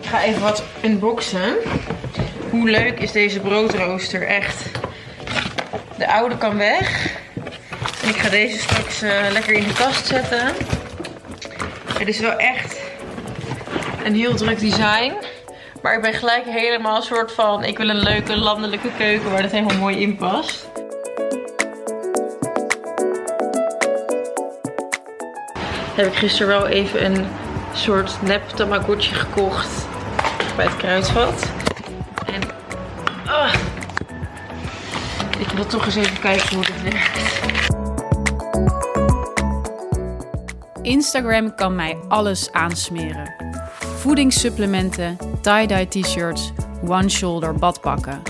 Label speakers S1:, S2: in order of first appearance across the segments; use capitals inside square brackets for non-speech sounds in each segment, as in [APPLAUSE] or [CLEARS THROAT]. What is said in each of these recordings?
S1: ga even wat unboxen. Hoe leuk is deze broodrooster, echt. De oude kan weg. En ik ga deze straks eh, lekker in de kast zetten. Het is wel echt een heel druk design. Maar ik ben gelijk helemaal een soort van, ik wil een leuke landelijke keuken waar dit helemaal mooi in past. heb ik gisteren wel even een soort nep Tamagotchi gekocht bij het kruidvat. En ah, ik wil toch eens even kijken hoe dit werkt.
S2: Instagram kan mij alles aansmeren. Voedingssupplementen, tie-dye t-shirts, one-shoulder badpakken.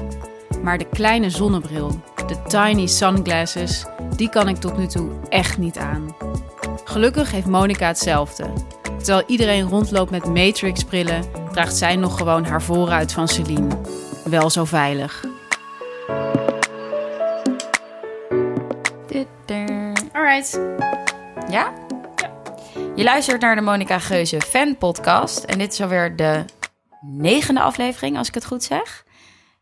S2: Maar de kleine zonnebril, de tiny sunglasses, die kan ik tot nu toe echt niet aan. Gelukkig heeft Monica hetzelfde. Terwijl iedereen rondloopt met Matrix-brillen, draagt zij nog gewoon haar voorruit van Celine. Wel zo veilig.
S3: Alright. Ja? Je luistert naar de Monica Geuze Fan Podcast. En dit is alweer de negende aflevering, als ik het goed zeg.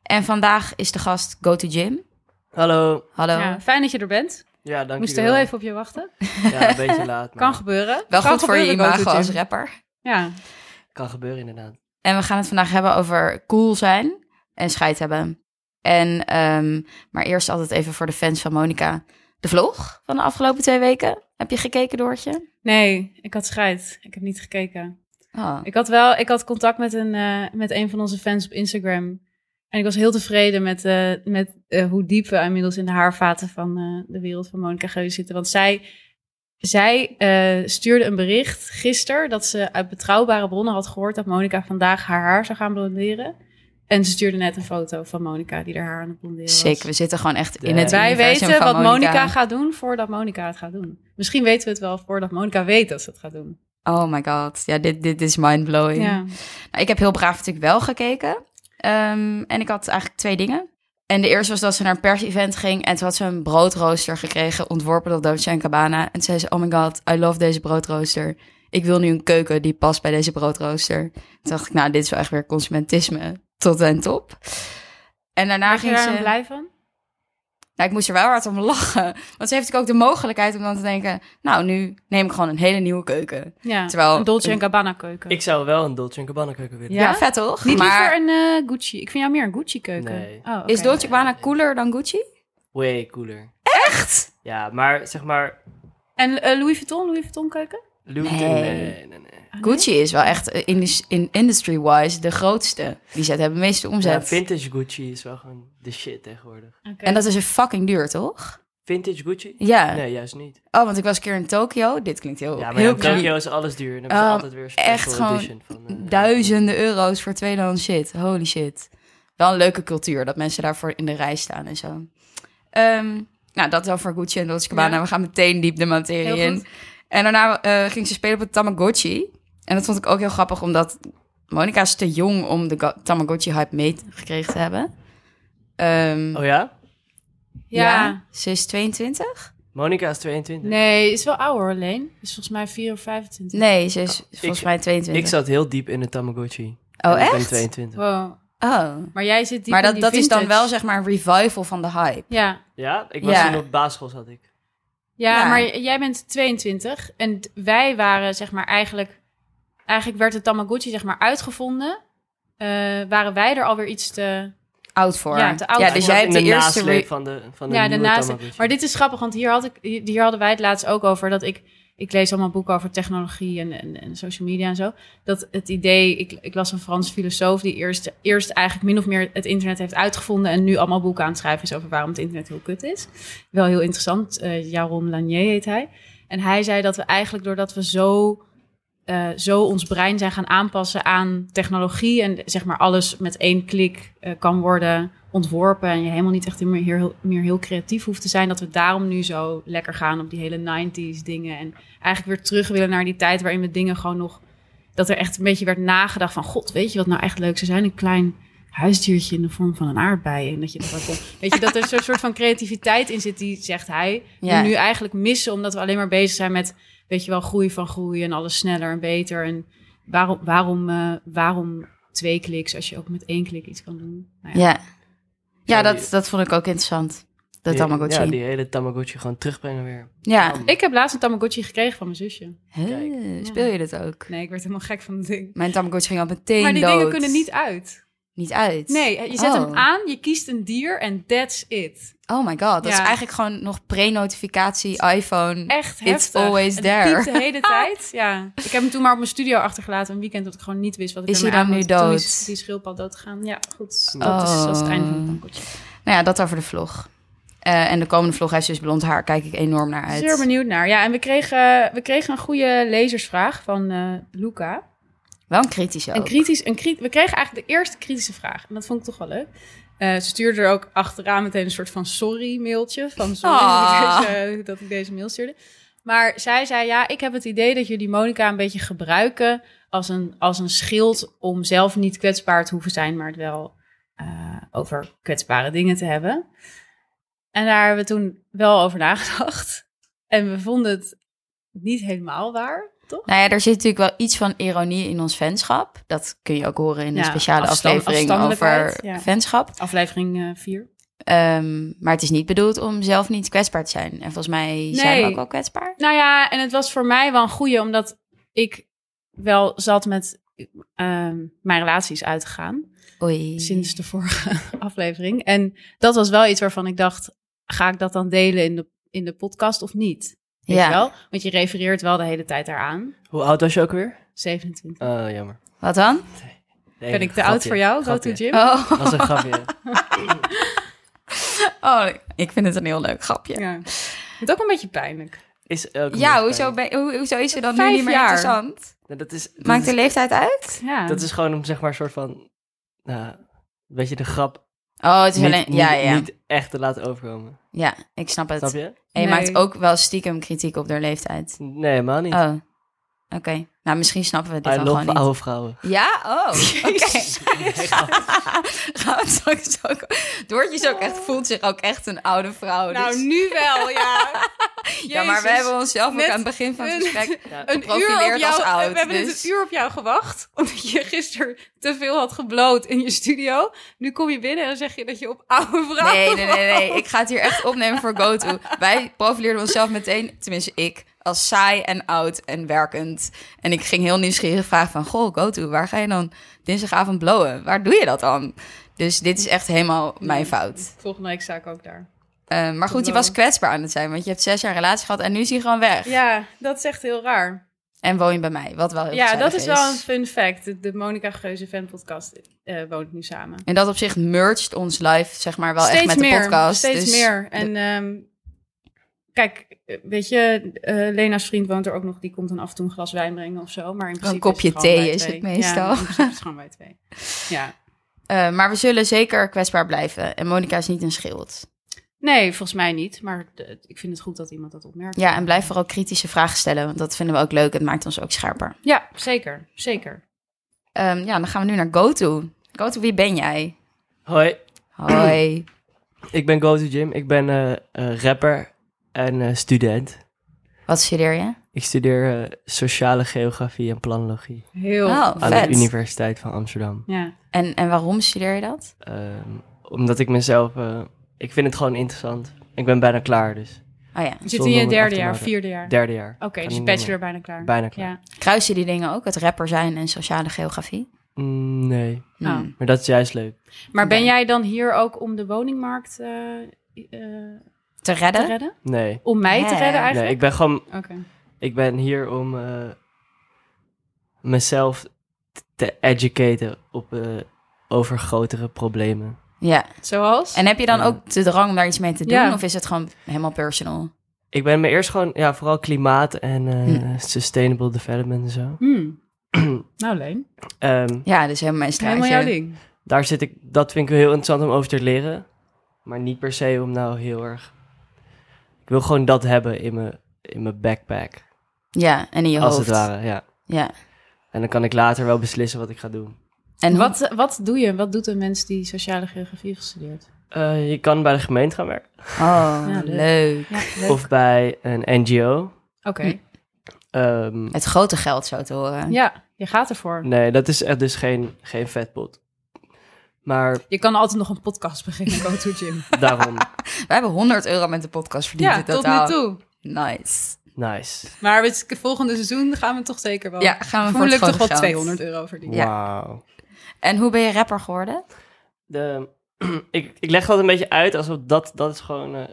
S3: En vandaag is de gast Go to Gym.
S4: Hallo.
S3: Hallo.
S2: fijn dat je er bent.
S4: Ja, dank
S2: Moest
S4: je
S2: er
S4: wel.
S2: heel even op je wachten.
S4: Ja, een beetje
S3: [LAUGHS]
S4: laat. maar
S2: Kan gebeuren.
S3: Wel
S2: Kan
S3: goed voor je
S2: gebeuren,
S3: imago
S2: GoToGym.
S3: als rapper.
S2: Ja,
S4: kan gebeuren inderdaad.
S3: En we gaan het vandaag hebben over cool zijn en scheid hebben. En, ehm, maar eerst altijd even voor de fans van Monica. De vlog van de afgelopen twee weken. Heb je gekeken, Doortje?
S2: Nee, ik had scheid. Ik heb niet gekeken.
S3: Oh.
S2: Ik had wel, ik had contact met een, eh, met een van onze fans op Instagram. En ik was heel tevreden met, eh, met eh, hoe diep we inmiddels in de haarvaten van eh, de wereld van Monica Geuze zitten. Want zij, zij eh, stuurde een bericht gisteren dat ze uit betrouwbare bronnen had gehoord dat Monica vandaag haar haar zou gaan blonderen. En ze stuurde net een foto van Monica die haar haar aan het blonderen was.
S3: Sick, we zitten gewoon echt in
S4: Damn.
S3: het
S2: Wij
S3: universum
S2: weten
S3: van
S2: wat Monica gaat doen voordat Monica het gaat doen. Misschien weten we het wel voordat Monica weet dat ze het gaat doen.
S3: Oh my god. Ja, dit, dit is mindblowing.
S2: Ja.
S3: Nou, ik heb heel braaf natuurlijk wel gekeken. Ehm, en ik had eigenlijk twee dingen. En de eerste was dat ze naar een pers-event ging. En toen had ze een broodrooster gekregen, ontworpen door Dolce Gabbana. En toen zei ze, oh my god, I love deze broodrooster. Ik wil nu een keuken die past bij deze broodrooster. Toen dacht ik, nou, dit is wel echt weer consumentisme tot en top. En daarna
S2: Maak je
S3: ging
S2: daar
S3: ze...
S2: dan blij van?
S3: Nou, ik moest er wel hard om lachen. Want ze heeft natuurlijk ook de mogelijkheid om dan te denken... nou, nu neem ik gewoon een hele nieuwe keuken.
S2: Ja,
S3: Terwijl-
S2: een Dolce Gabbana keuken.
S4: Ik zou wel een Dolce Gabbana keuken willen.
S2: Ja?
S3: Ja, vet toch?
S2: Niet liever
S3: maar
S2: een eh, Gucci. Ik vind jou meer een Gucci keuken.
S4: Nee.
S2: Oh, oké.
S3: is Dolce Gabbana cooler dan Gucci?
S4: Way cooler.
S3: Echt?
S4: Ja, maar zeg maar...
S2: En eh, Louis Vuitton, Louis Vuitton keuken?
S4: Louis
S3: Nee.
S4: nee, nee, nee.
S2: Ah, nee?
S3: Ah, Gucci is wel echt eh, indus- in industry-wise de grootste. Die zet hebben de meeste
S4: Ja,
S3: omzet.
S4: vintage Gucci is wel gewoon de shit tegenwoordig.
S2: Oké.
S3: En dat is een fucking duur, toch?
S4: Vintage Gucci?
S3: Ja.
S4: Nee, juist niet.
S3: Oh, want ik was een keer in Tokio. Dit klinkt heel,
S4: Ja, maar
S3: heel
S4: in
S3: creepy.
S4: Tokio is alles duur. En dan hebben
S3: Ehm,
S4: ze altijd weer een special
S3: echt gewoon
S4: edition van... eh,
S3: Duizenden euro's voor tweedehands shit. Holy shit. Wel een leuke cultuur, dat mensen daarvoor in de rij staan en zo. Ehm, nou, dat dan voor Gucci en Dolce Gabbana.
S2: Ja.
S3: We gaan meteen diep de
S2: Heel
S3: materie
S2: goed.
S3: in. En daarna eh, ging ze spelen op het Tamagotchi. En dat vond ik ook heel grappig, omdat Monica is te jong om de ga- Tamagotchi-hype mee gekregen te hebben. Ehm,
S4: Oh ja?
S2: ja.
S3: Ze is 22?
S4: Monica is 22.
S2: Nee, is wel ouder alleen. Is volgens mij 4 of 25.
S3: Nee, ze
S2: Oh,
S3: is volgens
S4: ik-
S3: mij 22.
S4: Ik zat heel diep in de Tamagotchi.
S3: oh,
S4: En Ik ben
S3: echt?
S4: 22.
S2: Wow.
S3: Oh.
S2: Maar jij zit diep
S3: Maar
S2: in
S3: dat,
S2: die
S3: dat is dan
S2: vintage.
S3: wel zeg maar een revival van de hype.
S2: Ja.
S4: Ja? Ik was
S3: Ja.
S4: toen op basisschool zat ik.
S2: Ja,
S3: Ja.
S2: maar jij bent 22 en d- wij waren zeg maar eigenlijk... Eigenlijk werd de Tamagotchi zeg maar uitgevonden. eh, waren wij er alweer iets te...
S3: oud voor.
S2: Ja, te oud
S3: ja
S2: voor.
S3: dus jij
S4: in
S3: hebt de,
S4: de
S3: eerste...
S4: nasleep
S3: re-
S4: van de, van de
S2: Ja,
S4: nieuwe
S2: daarnaast.
S4: Tamagotchi.
S2: Maar dit is grappig, want hier, had ik, hier hadden wij het laatst ook over dat ik. Ik lees allemaal boeken over technologie en, en, en social media en zo. Dat het idee. Ik, ik las een Frans filosoof die eerst, eerst eigenlijk min of meer het internet heeft uitgevonden. En nu allemaal boeken aan het schrijven is over waarom het internet heel kut is. Wel heel interessant. eh Jaron Lanier heet hij. En hij zei dat we eigenlijk doordat we zo, eh, zo ons brein zijn gaan aanpassen aan technologie. En zeg maar alles met één klik eh, kan worden ontworpen. En je helemaal niet echt meer heel, meer heel creatief hoeft te zijn. Dat we daarom nu zo lekker gaan op die hele 90s dingen. En eigenlijk weer terug willen naar die tijd waarin we dingen gewoon nog. Dat er echt een beetje werd nagedacht van. God, weet je wat nou echt leuk zou zijn? Een klein huisdiertje in de vorm van een aardbei. En dat je dat wel kon. Weet je, dat er zo'n soort van creativiteit in zit, die zegt hij. Die
S3: Ja.
S2: we nu eigenlijk missen, omdat we alleen maar bezig zijn met. Weet je wel, groei van groei en alles sneller en beter. En waarom, waarom, eh, waarom twee kliks, als je ook met één klik iets kan doen. Nou ja.
S3: Ja, ja
S4: Ja,
S3: dat,
S4: die-
S3: dat vond ik ook interessant. De
S4: Die-
S3: Tamagotchi.
S4: Ja, die hele Tamagotchi gewoon terugbrengen weer.
S3: Ja.
S4: Bam.
S2: Ik heb laatst een Tamagotchi gekregen van mijn zusje.
S3: Hè, speel je dit ook?
S2: Nee, ik werd helemaal gek van het ding.
S3: Mijn Tamagotchi ging al meteen
S2: Maar die
S3: dood.
S2: dingen kunnen niet uit.
S3: Niet uit.
S2: Nee, eh, je zet hem
S3: Oh.
S2: aan, je kiest een dier en that's it.
S3: Oh my god, dat is
S2: Ja.
S3: eigenlijk gewoon nog pre-notificatie iPhone.
S2: Echt
S3: It's
S2: heftig.
S3: always
S2: En Het
S3: there.
S2: piept de
S3: [LAUGHS]
S2: hele tijd. Ja. Ik heb hem toen maar op mijn studio achtergelaten een weekend dat ik gewoon niet wist wat ik
S3: Is
S2: ermee
S3: hij dan
S2: aan
S3: nu
S2: moet. Toen is
S3: dood?
S2: die schildpad doodgegaan. Ja, goed.
S4: Oh.
S2: Dat, is, dat is het einde van het tankotje.
S3: Nou ja, dat over de vlog. Eh, en de komende vlog heeft dus blond haar. Kijk ik enorm naar uit.
S2: Zeer benieuwd naar. Ja, en we kregen, we kregen een goede lezersvraag van eh, Luca.
S3: Wel een kritische ook.
S2: Een kritisch, een kri- we kregen eigenlijk de eerste kritische vraag. En dat vond ik toch wel leuk. Eh, ze stuurde er ook achteraan meteen een soort van sorry-mailtje. Van sorry
S3: Ah.
S2: dat, ik deze, dat ik deze mail stuurde. Maar zij zei, ja, ik heb het idee dat jullie Monica een beetje gebruiken... als een, als een schild om zelf niet kwetsbaar te hoeven zijn... maar het wel eh, over kwetsbare dingen te hebben. En daar hebben we toen wel over nagedacht. En we vonden het niet helemaal waar, toch?
S3: Nou ja, er zit natuurlijk wel iets van ironie in ons fanschap. Dat kun je ook horen in een
S2: Ja,
S3: speciale
S2: afstand-
S3: aflevering
S2: afstandelijkheid,
S3: over
S2: ja.
S3: fanschap.
S2: Aflevering eh, 4.
S3: Ehm, maar het is niet bedoeld om zelf niet kwetsbaar te zijn. En volgens mij zijn
S2: Nee.
S3: we ook wel kwetsbaar.
S2: Nou ja, en het was voor mij wel een goeie, omdat ik wel zat met ehm, mijn relaties uit te gaan.
S3: Oei.
S2: Sinds de vorige [LAUGHS] aflevering. En dat was wel iets waarvan ik dacht, ga ik dat dan delen in de, in de podcast of niet? Weet
S3: Ja.
S2: je wel? Want je refereert wel de hele tijd daaraan.
S4: Hoe oud was je ook weer?
S2: 27.
S4: Oh, jammer.
S3: Wat dan?
S4: Nee,
S2: Ben ik te
S4: grapje,
S2: oud voor jou? Go to
S4: grapje.
S2: gym?
S3: Oh. [LAUGHS]
S4: Dat is een grapje.
S3: oh, ik vind het een heel leuk grapje. Ja,
S2: Ja. Het is ook een beetje pijnlijk.
S3: [LAUGHS]
S4: Is elke
S3: Ja,
S4: mens
S3: hoezo,
S4: pijn.
S3: ben, hoe- hoezo is ze dan nu
S2: Vijf
S3: niet meer
S2: jaar.
S3: interessant?
S4: Nou, dat, is, dat,
S3: Maakt de
S4: is,
S3: leeftijd uit?
S2: Ja.
S4: dat is gewoon om zeg maar een soort van... Nou, een beetje de grap
S3: Oh, het is
S4: niet,
S3: alleen... ja,
S4: niet-
S3: ja.
S4: niet echt te laten overkomen.
S3: ja, ik snap het.
S4: Snap je?
S3: En
S2: Nee.
S3: je maakt ook wel stiekem kritiek op haar leeftijd.
S4: Nee, helemaal niet.
S3: Oh, oké. Nou, misschien snappen we dit
S4: I
S3: dan
S4: love
S3: gewoon niet.
S4: oude vrouwen.
S3: Ja?
S4: [LAUGHS]
S3: Oh, oké. [LAUGHS] Gaan we straks ook... Doortje is ook echt, voelt zich ook echt een oude vrouw.
S2: nou,
S3: dus-
S2: nu wel, [LAUGHS] ja.
S3: ja, maar we
S2: Jezus.
S3: hebben onszelf ook
S2: Net
S3: aan het begin van het
S2: een-
S3: gesprek...
S2: [LAUGHS] een uur
S3: geprofileerd
S2: op jou,
S3: als oud,
S2: We hebben net
S3: dus-
S2: een uur op jou gewacht. [LAUGHS] Omdat je gisteren te veel had gebloot in je studio. Nu kom je binnen en dan zeg je dat je op oude vrouw.
S3: Nee, nee, nee, nee. Ik ga het hier echt opnemen voor GoTo. Wij profileerden onszelf meteen, tenminste ik, als saai en oud en werkend. En ik ging heel nieuwsgierig vragen van... Goh, GoTo, waar ga je dan dinsdagavond blowen? Waar doe je dat dan? Dus dit is echt helemaal mijn fout.
S2: Volgende week sta ik ook daar.
S3: Eh, maar goed,
S2: blowen.
S3: je was kwetsbaar aan het zijn. Want je hebt zes jaar een relatie gehad en nu is hij gewoon weg.
S2: Ja, dat is echt heel raar.
S3: En woon je bij mij, wat wel heel
S2: Ja,
S3: gezellig
S2: dat is wel een fun fact. De, de Monica Geuze fanpodcast eh, woont nu samen.
S3: In dat opzicht merged ons live, zeg maar, wel
S2: steeds
S3: echt met
S2: meer,
S3: de podcast.
S2: Steeds
S3: Dus
S2: meer. En ehm, kijk, eh, weet je, eh, Lena's vriend woont er ook nog. Die komt dan af en toe een glas wijn brengen of zo. Maar in principe
S3: kopje
S2: is het gewoon
S3: thee
S2: wij
S3: is
S2: twee.
S3: het meestal.
S2: Ja, in principe is het gewoon wij twee. Ja.
S3: eh, maar we zullen zeker kwetsbaar blijven. En Monica is niet een schild.
S2: Nee, volgens mij niet. Maar de- ik vind het goed dat iemand dat opmerkt.
S3: Ja, en blijf vooral kritische vragen stellen, want dat vinden we ook leuk. Het maakt ons ook scherper.
S2: Ja, zeker. Zeker.
S3: Ehm, ja, dan gaan we nu naar GoTo. GoTo, wie ben jij?
S4: Hoi,
S3: Hoi. [CLEARS THROAT]
S4: ik ben Go to Gym. Ik ben eh, eh, rapper en eh, student.
S3: Wat studeer je?
S4: Ik studeer eh, sociale geografie en planologie
S2: Heel
S3: Oh,
S4: aan
S3: Vet.
S4: de Universiteit van Amsterdam.
S2: Ja.
S3: En, en waarom studeer je dat?
S4: Ehm, omdat ik mezelf... eh, ik vind het gewoon interessant. Ik ben bijna klaar, dus.
S3: Oh ja,
S2: Je zit
S4: Zonder
S2: in
S4: om
S2: je
S4: het af
S2: derde
S4: te
S2: jaar,
S4: maken.
S2: vierde jaar.
S4: Derde jaar.
S2: Oké,
S4: Ga
S2: dus
S4: niet
S2: je
S4: meer
S2: bachelor bijna klaar.
S4: Bijna klaar.
S2: Ja.
S3: kruis je die dingen ook? Het rapper zijn en sociale geografie?
S4: mee. Mm, nee,
S2: Oh.
S3: Hmm.
S4: maar dat is juist leuk.
S2: Maar ben
S3: Ja.
S2: jij dan hier ook om de woningmarkt eh, eh,
S3: Te
S2: te
S3: redden?
S2: redden?
S4: Nee.
S2: Om mij te
S3: Nee.
S2: redden
S4: Nee,
S2: eigenlijk?
S4: ik ben gewoon...
S2: Oké.
S4: Ik ben hier om eh, mezelf te educaten op, eh, over grotere problemen.
S3: Ja.
S2: Zoals?
S3: En heb je dan
S4: Ja.
S3: ook de drang om daar iets mee te doen?
S2: Ja.
S3: Of is het gewoon helemaal personal?
S4: Ik ben me eerst gewoon, ja, vooral klimaat en eh, sustainable development en zo. [CLEARS THROAT]
S2: Hmm. nou, Leen.
S4: Ehm,
S3: Ja, dus helemaal mijn straatje.
S2: Helemaal jouw ding.
S4: daar zit ik, dat vind ik heel interessant om over te leren. Maar niet per se om nou heel erg. Ik wil gewoon dat hebben in mijn, in mijn backpack.
S3: Ja, en in je
S4: Als het
S3: hoofd.
S4: ware, ja.
S3: Ja.
S4: En dan kan ik later wel beslissen wat ik ga doen.
S3: En
S2: En
S3: wat?
S2: wat, eh, wat doe je? Wat doet een mens die sociale geografie heeft gestudeerd?
S4: Eh, je kan bij de gemeente gaan werken.
S3: Oh,
S2: Ja, leuk.
S3: leuk.
S2: Ja, leuk.
S4: Of bij een NGO.
S2: Oké.
S3: Hm.
S4: Ehm,
S3: Het grote geld zo te horen.
S2: Ja, je gaat ervoor.
S4: nee, dat is echt dus geen, geen vetpot.
S3: [LAUGHS]
S4: Maar
S2: Je kan altijd nog een podcast beginnen, Go To Gym.
S4: daarom,
S3: We hebben 100 euro met de podcast verdiend
S2: ja,
S3: in
S2: tot
S3: totaal.
S2: nu toe.
S3: Nice.
S4: nice.
S2: Maar het volgende seizoen gaan we toch zeker wel...
S3: Ja, gaan we voor het
S2: Vermoedelijk toch
S3: grote
S2: Oh. wel
S3: geld.
S2: 200 euro verdienen.
S3: Ja.
S4: Wauw.
S3: En hoe ben je rapper geworden?
S4: De, [CLEARS THROAT] ik, ik leg dat een beetje uit alsof dat, dat is gewoon... eh,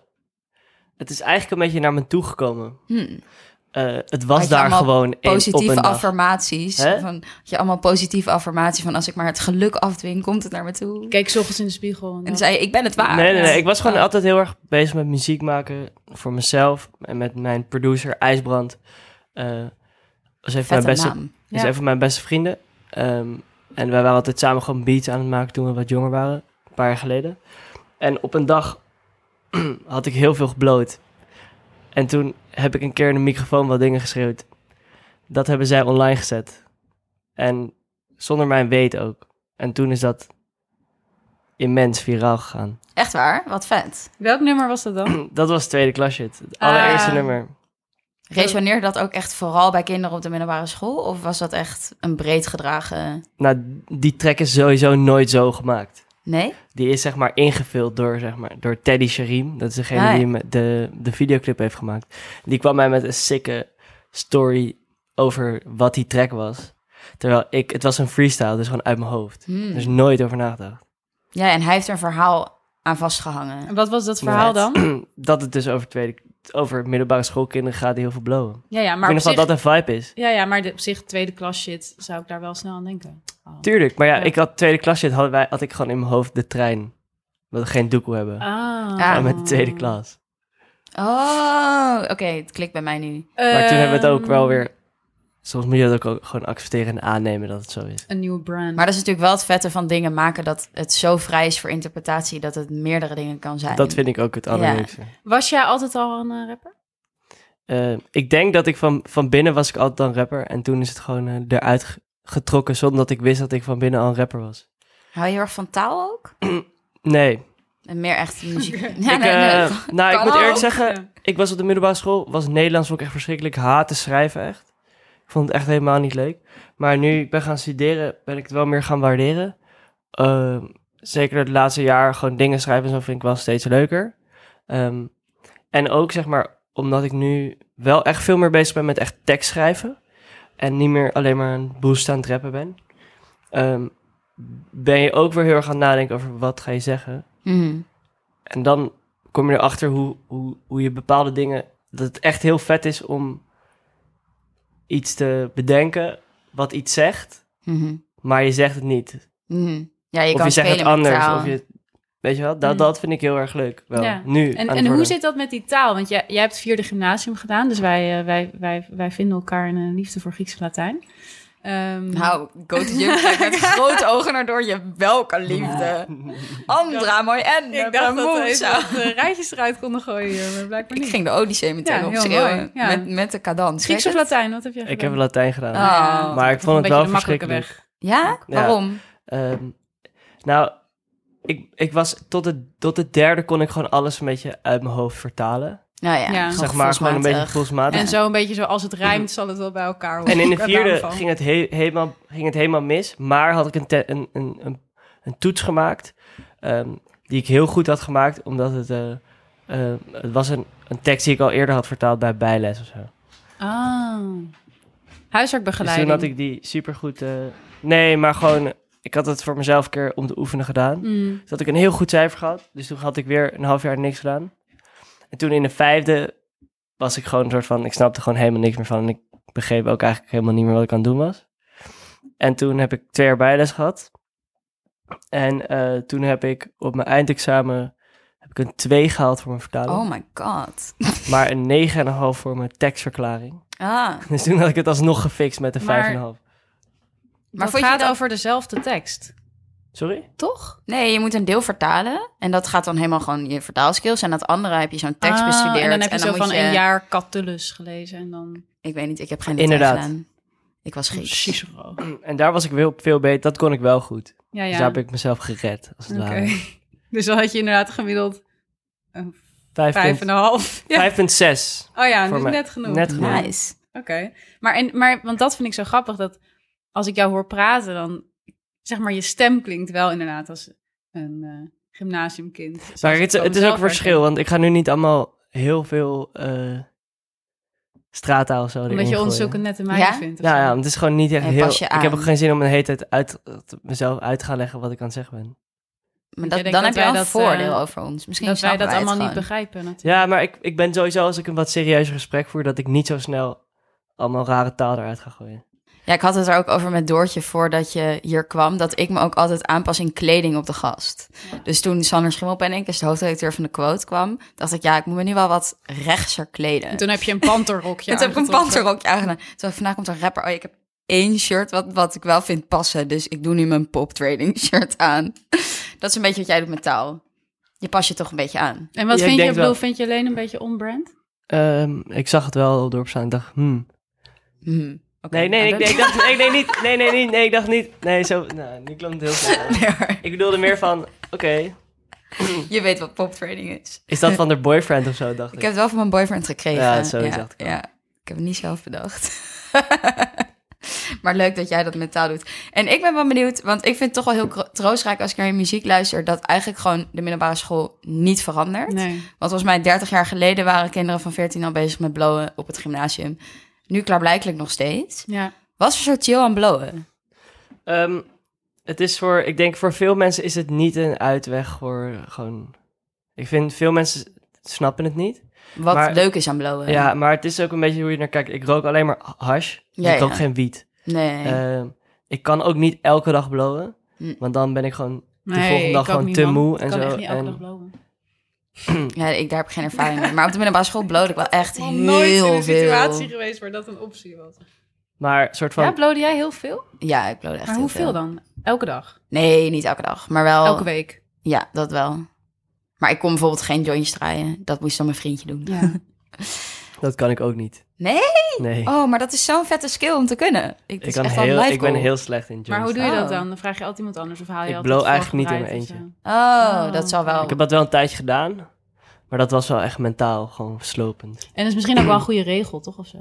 S4: het is eigenlijk een beetje naar me toegekomen.
S3: Hm,
S4: Eh, het
S3: Had
S4: was
S3: je
S4: daar
S3: allemaal
S4: gewoon één op
S3: positieve
S4: een dag.
S3: affirmaties.
S4: Hè?
S3: Van, had je allemaal positieve affirmaties van als ik maar het geluk afdwing, komt het naar me toe.
S2: Ik keek 's ochtends in de spiegel. En
S3: En
S2: dan-
S3: dan zei je, ik ben het waard.
S4: Nee,
S2: Ja.
S4: nee, nee. Ik was gewoon
S2: Oh.
S4: altijd heel erg bezig met muziek maken voor mezelf en met mijn producer IJsbrand. Eh was even mijn
S3: Vette
S4: beste,
S3: naam.
S4: is
S2: Ja.
S4: een van mijn beste vrienden. Ehm, en wij waren altijd samen gewoon beats aan het maken toen we wat jonger waren, een paar jaar geleden. En op een dag [CLEARS THROAT] had ik heel veel gebloot. En toen heb ik een keer in de microfoon wat dingen geschreeuwd. Dat hebben zij online gezet. En zonder mijn weet ook. En toen is dat immens viraal gegaan. [CLEARS THROAT]
S3: Echt waar? Wat vet.
S2: Welk nummer was dat dan?
S4: Dat was tweede klasje. Het allereerste
S2: Ah.
S4: nummer.
S2: Eh,
S3: Resoneerde dat ook echt vooral bij kinderen op de middelbare school? Of was dat echt een breed gedragen...
S4: Nou, die track is sowieso nooit zo gemaakt.
S3: Nee?
S4: Die is zeg maar ingevuld door, zeg maar, door Teddy Sharim. Dat is degene
S3: Ah, ja.
S4: die me- de, de videoclip heeft gemaakt. Die kwam mij met een sikke story over wat die track was. Terwijl ik, het was een freestyle, dus gewoon uit mijn hoofd.
S3: Hmm.
S4: Dus nooit over nagedacht.
S3: Ja, en hij heeft er een verhaal aan vastgehangen.
S2: En wat was dat verhaal dan?
S4: Dat het dus over, tweede, over middelbare schoolkinderen gaat die heel veel blowen.
S2: Ja, ja,
S4: ik
S2: maar op
S4: weet nog
S2: zich,
S4: wel dat een vibe is.
S2: ja, ja, maar de- op zich tweede klas shit zou ik daar wel snel aan denken. Oh.
S4: Tuurlijk, maar ja,
S2: Ja.
S4: ik had tweede klasje, had, wij, had ik gewoon in mijn hoofd de trein. Dat we geen doekoe hebben.
S2: Ah.
S3: Ja,
S4: En met de tweede klas.
S3: Oh, oké, het klikt bij mij nu.
S4: Maar toen hebben we het ook
S2: Ehm,
S4: wel weer... Soms moet je dat ook, ook gewoon accepteren en aannemen dat het zo is.
S2: Een nieuwe brand.
S3: Maar dat is natuurlijk wel het vette van dingen maken dat het zo vrij is voor interpretatie dat het meerdere dingen kan zijn.
S4: Dat vind ik ook het allerleukste.
S2: Was jij altijd al een eh, rapper?
S4: Eh, ik denk dat ik van, van binnen was ik altijd al een rapper. En toen is het gewoon eh, eruit ge- getrokken zonder dat ik wist dat ik van binnen al een rapper was.
S3: Hou je heel erg van taal ook?
S4: Nee.
S3: En meer echt muziek.
S2: [LAUGHS]
S3: [LAUGHS] Ja,
S4: ik,
S3: nee, nee,
S4: eh,
S3: dat-
S4: [LAUGHS] nou, ik
S3: kan
S4: moet eerlijk
S3: ook.
S4: zeggen, ik was op de middelbare school, was Nederlands ook echt verschrikkelijk. Ik haatte schrijven echt. Ik vond het echt helemaal niet leuk. Maar nu ik ben gaan studeren, ben ik het wel meer gaan waarderen. Ehm, zeker het laatste jaar gewoon dingen schrijven en zo vind ik wel steeds leuker. Ehm, en ook zeg maar, omdat ik nu wel echt veel meer bezig ben met echt tekst schrijven. En niet meer alleen maar een boost aan het rappen ben. ehm, ben je ook weer heel erg aan het nadenken over wat ga je zeggen.
S3: Mhm.
S4: En dan kom je erachter hoe, hoe, hoe je bepaalde dingen. dat het echt heel vet is om iets te bedenken wat iets zegt,
S3: Mhm.
S4: maar je zegt het niet.
S3: Mhm. Ja, je
S4: of
S3: kan
S4: je zegt het
S3: spelen met
S4: anders.
S3: taal.
S4: Of je, weet je wel, dat,
S2: Mm.
S4: dat vind ik heel erg leuk. Wel,
S2: Ja.
S4: nu. aan
S2: En,
S4: het
S2: en hoe
S4: worden.
S2: zit dat met die taal? Want jij, jij hebt vierde gymnasium gedaan, dus wij, eh, wij, wij, wij vinden elkaar in een eh, liefde voor Grieks en Latijn. Ehm,
S3: Nou, go to you kijkt
S2: [LAUGHS]
S3: met grote ogen naar door je welke liefde. Andra, mooi en. eh,
S2: ik dacht dat we
S3: Moe,
S2: even
S3: zo.
S2: wat, eh, rijtjes eruit konden gooien, hier, maar blijkbaar
S3: Ik
S2: niet.
S3: ging de Odyssee meteen
S2: Ja, heel
S3: opschreeuwen.
S2: mooi, ja.
S3: Met, met de cadans.
S2: Grieks of
S3: Weet je het?
S2: Latijn, wat heb jij
S4: Ik
S2: gedaan?
S4: heb Latijn gedaan.
S3: Ah.
S2: Ja,
S4: Maar ik
S2: toch
S4: vond
S2: Oh, een
S4: het wel
S2: beetje de makkelijke
S4: verschrikkelijk.
S2: weg.
S3: Ja?
S4: Ja.
S3: Waarom?
S4: Ehm, nou, ik, ik was tot het, tot het derde kon ik gewoon alles een beetje uit mijn hoofd vertalen.
S3: Nou ja,
S2: Ja.
S3: gewoon
S4: zeg maar gewoon een beetje
S3: gevoelsmatig.
S4: gevoelsmatig.
S2: En zo een beetje zo, als het rijmt, zal het wel bij elkaar horen.
S4: En in de
S2: Ik heb
S4: vierde
S2: daarvan.
S4: ging het, he- helemaal, ging het helemaal mis. Maar had ik een, te- een, een, een, een toets gemaakt. ehm, die ik heel goed had gemaakt. Omdat het, eh, eh, het was een, een tekst die ik al eerder had vertaald bij bijles of zo.
S2: Ah.
S4: Dus
S2: Huiswerkbegeleiding.
S4: toen had ik die supergoed... eh nee, maar gewoon... Ik had het voor mezelf een keer om te oefenen gedaan.
S2: Mm.
S4: Dus had ik een heel goed cijfer gehad. Dus toen had ik weer een half jaar niks gedaan. En toen in de vijfde was ik gewoon een soort van... Ik snapte gewoon helemaal niks meer van. En ik begreep ook eigenlijk helemaal niet meer wat ik aan het doen was. En toen heb ik twee jaar bijles gehad. En eh, toen heb ik op mijn eindexamen heb ik een 2 gehaald voor mijn vertaling.
S3: Oh my god.
S4: Maar een 9,5 voor mijn tekstverklaring. [LAUGHS]
S3: Ah,
S4: Dus toen had ik het alsnog gefixt met een 5,5.
S2: Maar-
S3: Maar
S2: Maar
S3: vond
S2: het
S3: je
S2: gaat
S3: dat-
S2: over dezelfde tekst,
S4: Sorry? [CLEARS THROAT]
S2: toch?
S3: nee, je moet een deel vertalen. En dat gaat dan helemaal gewoon je vertaalskills. En dat andere heb je zo'n tekst
S2: Ah,
S3: bestudeerd.
S2: En dan heb je zo
S3: moet
S2: van een jaar Catullus gelezen en dan
S3: Ik weet niet, ik heb geen
S4: Inderdaad.
S3: Inderdaad. gedaan. Ik was Grieks.
S2: Cicero.
S4: En daar was ik wel veel beter. Dat kon ik wel goed.
S2: Ja,
S4: Dus
S2: ja.
S4: daar heb ik mezelf gered, als het
S2: Oké.
S4: ware.
S2: [LAUGHS] Dus dan had je inderdaad gemiddeld
S4: Vijf
S2: vijf
S4: punt-
S2: en een half. Ja.
S4: 5,6.
S2: Oh ja, [LAUGHS]
S4: voor
S2: dus
S4: mij.
S2: net genoeg.
S4: Net genoeg.
S3: Nice.
S2: Oké, Maar, en, maar, want dat vind ik zo grappig, dat als ik jou hoor praten, dan zeg maar, je stem klinkt wel inderdaad als een eh, gymnasiumkind. Zoals
S4: Maar
S2: ik
S4: het,
S2: van
S4: het is ook
S2: mezelf
S4: verschil, want ik ga nu niet allemaal heel veel eh straattaal of zo
S2: herken.
S4: erin
S2: Omdat je ons
S4: gooien.
S2: zulke nette meiden
S3: Ja?
S2: vindt. of
S4: Ja,
S2: zo.
S4: ja, want het is gewoon niet echt
S3: En
S4: heel...
S3: pas je
S4: Ik heb
S3: aan.
S4: ook geen zin om een hele tijd uit, mezelf uit te gaan leggen wat ik aan het zeggen ben.
S3: Maar
S2: Want jij
S3: dat,
S2: denkt dat
S3: dan heb je wel een
S2: wij dat, eh,
S3: voordeel over ons. Misschien
S2: dat wij
S3: snappen
S2: dat allemaal
S3: het
S2: niet
S3: gewoon.
S2: begrijpen natuurlijk.
S4: Ja, maar ik, ik ben sowieso als ik een wat serieuzer gesprek voer... dat ik niet zo snel allemaal rare taal eruit ga gooien.
S3: Ja, ik had het er ook over met Doortje voordat je hier kwam. Dat ik me ook altijd aanpas in kleding op de gast. Dus toen Sander Schimmelpenninck, is de hoofdredacteur van de Quote, kwam... dacht ik, ja, ik moet me nu wel wat rechtser kleden.
S2: En toen heb je een [LAUGHS] panterrokje
S3: En toen heb ik een
S2: aangetrokken.
S3: panterrokje aangedaan. Toen dacht ik, vandaag komt er een rapper. Oh, ik heb één shirt wat, wat ik wel vind passen. Dus ik doe nu mijn pop trading [LAUGHS] shirt aan. Dat is een beetje wat jij doet met taal. Je pas je toch een beetje aan.
S2: En wat
S4: Ja, ik
S2: vind je,
S4: denk
S2: ik bedoel,
S4: wel.
S2: vind je alleen een beetje on-brand?
S4: Ehm, ik zag het wel erop staan. Ik dacht, hmm.
S3: Hm, oké.
S4: Nee, nee,
S3: En
S4: ik, nee, ik dacht, nee, nee, niet, nee, nee, nee, nee, ik dacht niet. Nee, zo, nou, nu klonk het heel snel.
S3: [LAUGHS] dat- Nee, hoor.
S4: Ik bedoelde meer van, oké,
S3: je weet wat pop trading is.
S4: is dat van de boyfriend of zo, dacht
S3: Ik
S4: ik.
S3: heb het wel van mijn boyfriend gekregen.
S4: Ja, zo dacht ik wel.
S3: ja. ik heb het niet zelf bedacht. [LAUGHS] maar leuk dat jij dat mentaal doet. En ik ben wel benieuwd, want ik vind het toch wel heel kro- troostrijk als ik naar je muziek luister, dat eigenlijk gewoon de middelbare school niet verandert.
S2: Nee.
S3: Want volgens mij 30 jaar geleden waren kinderen van 14 al bezig met blowen op het gymnasium. Nu klaarblijkelijk nog steeds.
S2: Ja.
S3: Wat is er zo chill aan blowen?
S4: Ehm, het is voor, ik denk voor veel mensen is het niet een uitweg voor gewoon... Ik vind veel mensen snappen het niet.
S3: Wat
S4: Maar-
S3: leuk is aan blowen?
S4: Ja, maar het is ook een beetje hoe je naar kijkt. Ik rook alleen maar hash. Dus
S3: Ja,
S4: ik rook
S3: ja.
S4: geen wiet.
S3: Nee.
S4: Ehm, ik kan ook niet elke dag blowen.
S3: Hm.
S4: Want dan ben ik gewoon...
S2: Nee,
S4: volgende dag
S2: ik ook
S4: gewoon
S2: niet,
S4: te
S2: man.
S4: moe
S2: Ik
S4: en
S2: kan
S4: zo,
S2: echt niet elke
S4: en-
S2: dag blowen.
S3: ja, ik, daar heb ik geen ervaring mee. Maar op de middelbare school blode ik wel echt heel veel.
S2: geweest waar dat een optie was.
S4: Maar soort van...
S2: Ja, blode jij heel veel?
S3: Ja, ik blode echt
S2: maar
S3: heel
S2: hoeveel dan? Elke dag?
S3: Nee, niet elke dag. Maar
S4: Oh.
S3: wel...
S2: Elke week?
S3: Ja, dat wel. Maar ik kon bijvoorbeeld geen jointjes draaien. Dat moest dan mijn vriendje doen.
S2: [LAUGHS] Ja.
S4: Dat kan ik ook niet.
S3: Nee?
S4: Nee.
S3: Oh, maar dat is zo'n vette skill om te kunnen. Ik,
S4: ik,
S3: is
S4: kan
S3: echt wel een
S4: heel,
S3: life
S4: ik ben
S3: goal.
S4: heel slecht in
S2: maar hoe
S4: joints.
S2: doe je dat
S3: Oh.
S2: dan? Dan vraag je altijd iemand anders of haal je
S4: Ik
S2: altijd
S4: blow
S2: het
S4: eigenlijk niet in
S2: voorgedraaid
S4: mijn
S2: of zo?
S3: Oh,
S2: Oh.
S3: dat zal wel...
S4: Ik heb dat wel een tijdje gedaan. Maar dat was wel echt mentaal gewoon slopend.
S2: En dat is misschien ook wel een goede regel, toch? Of zo?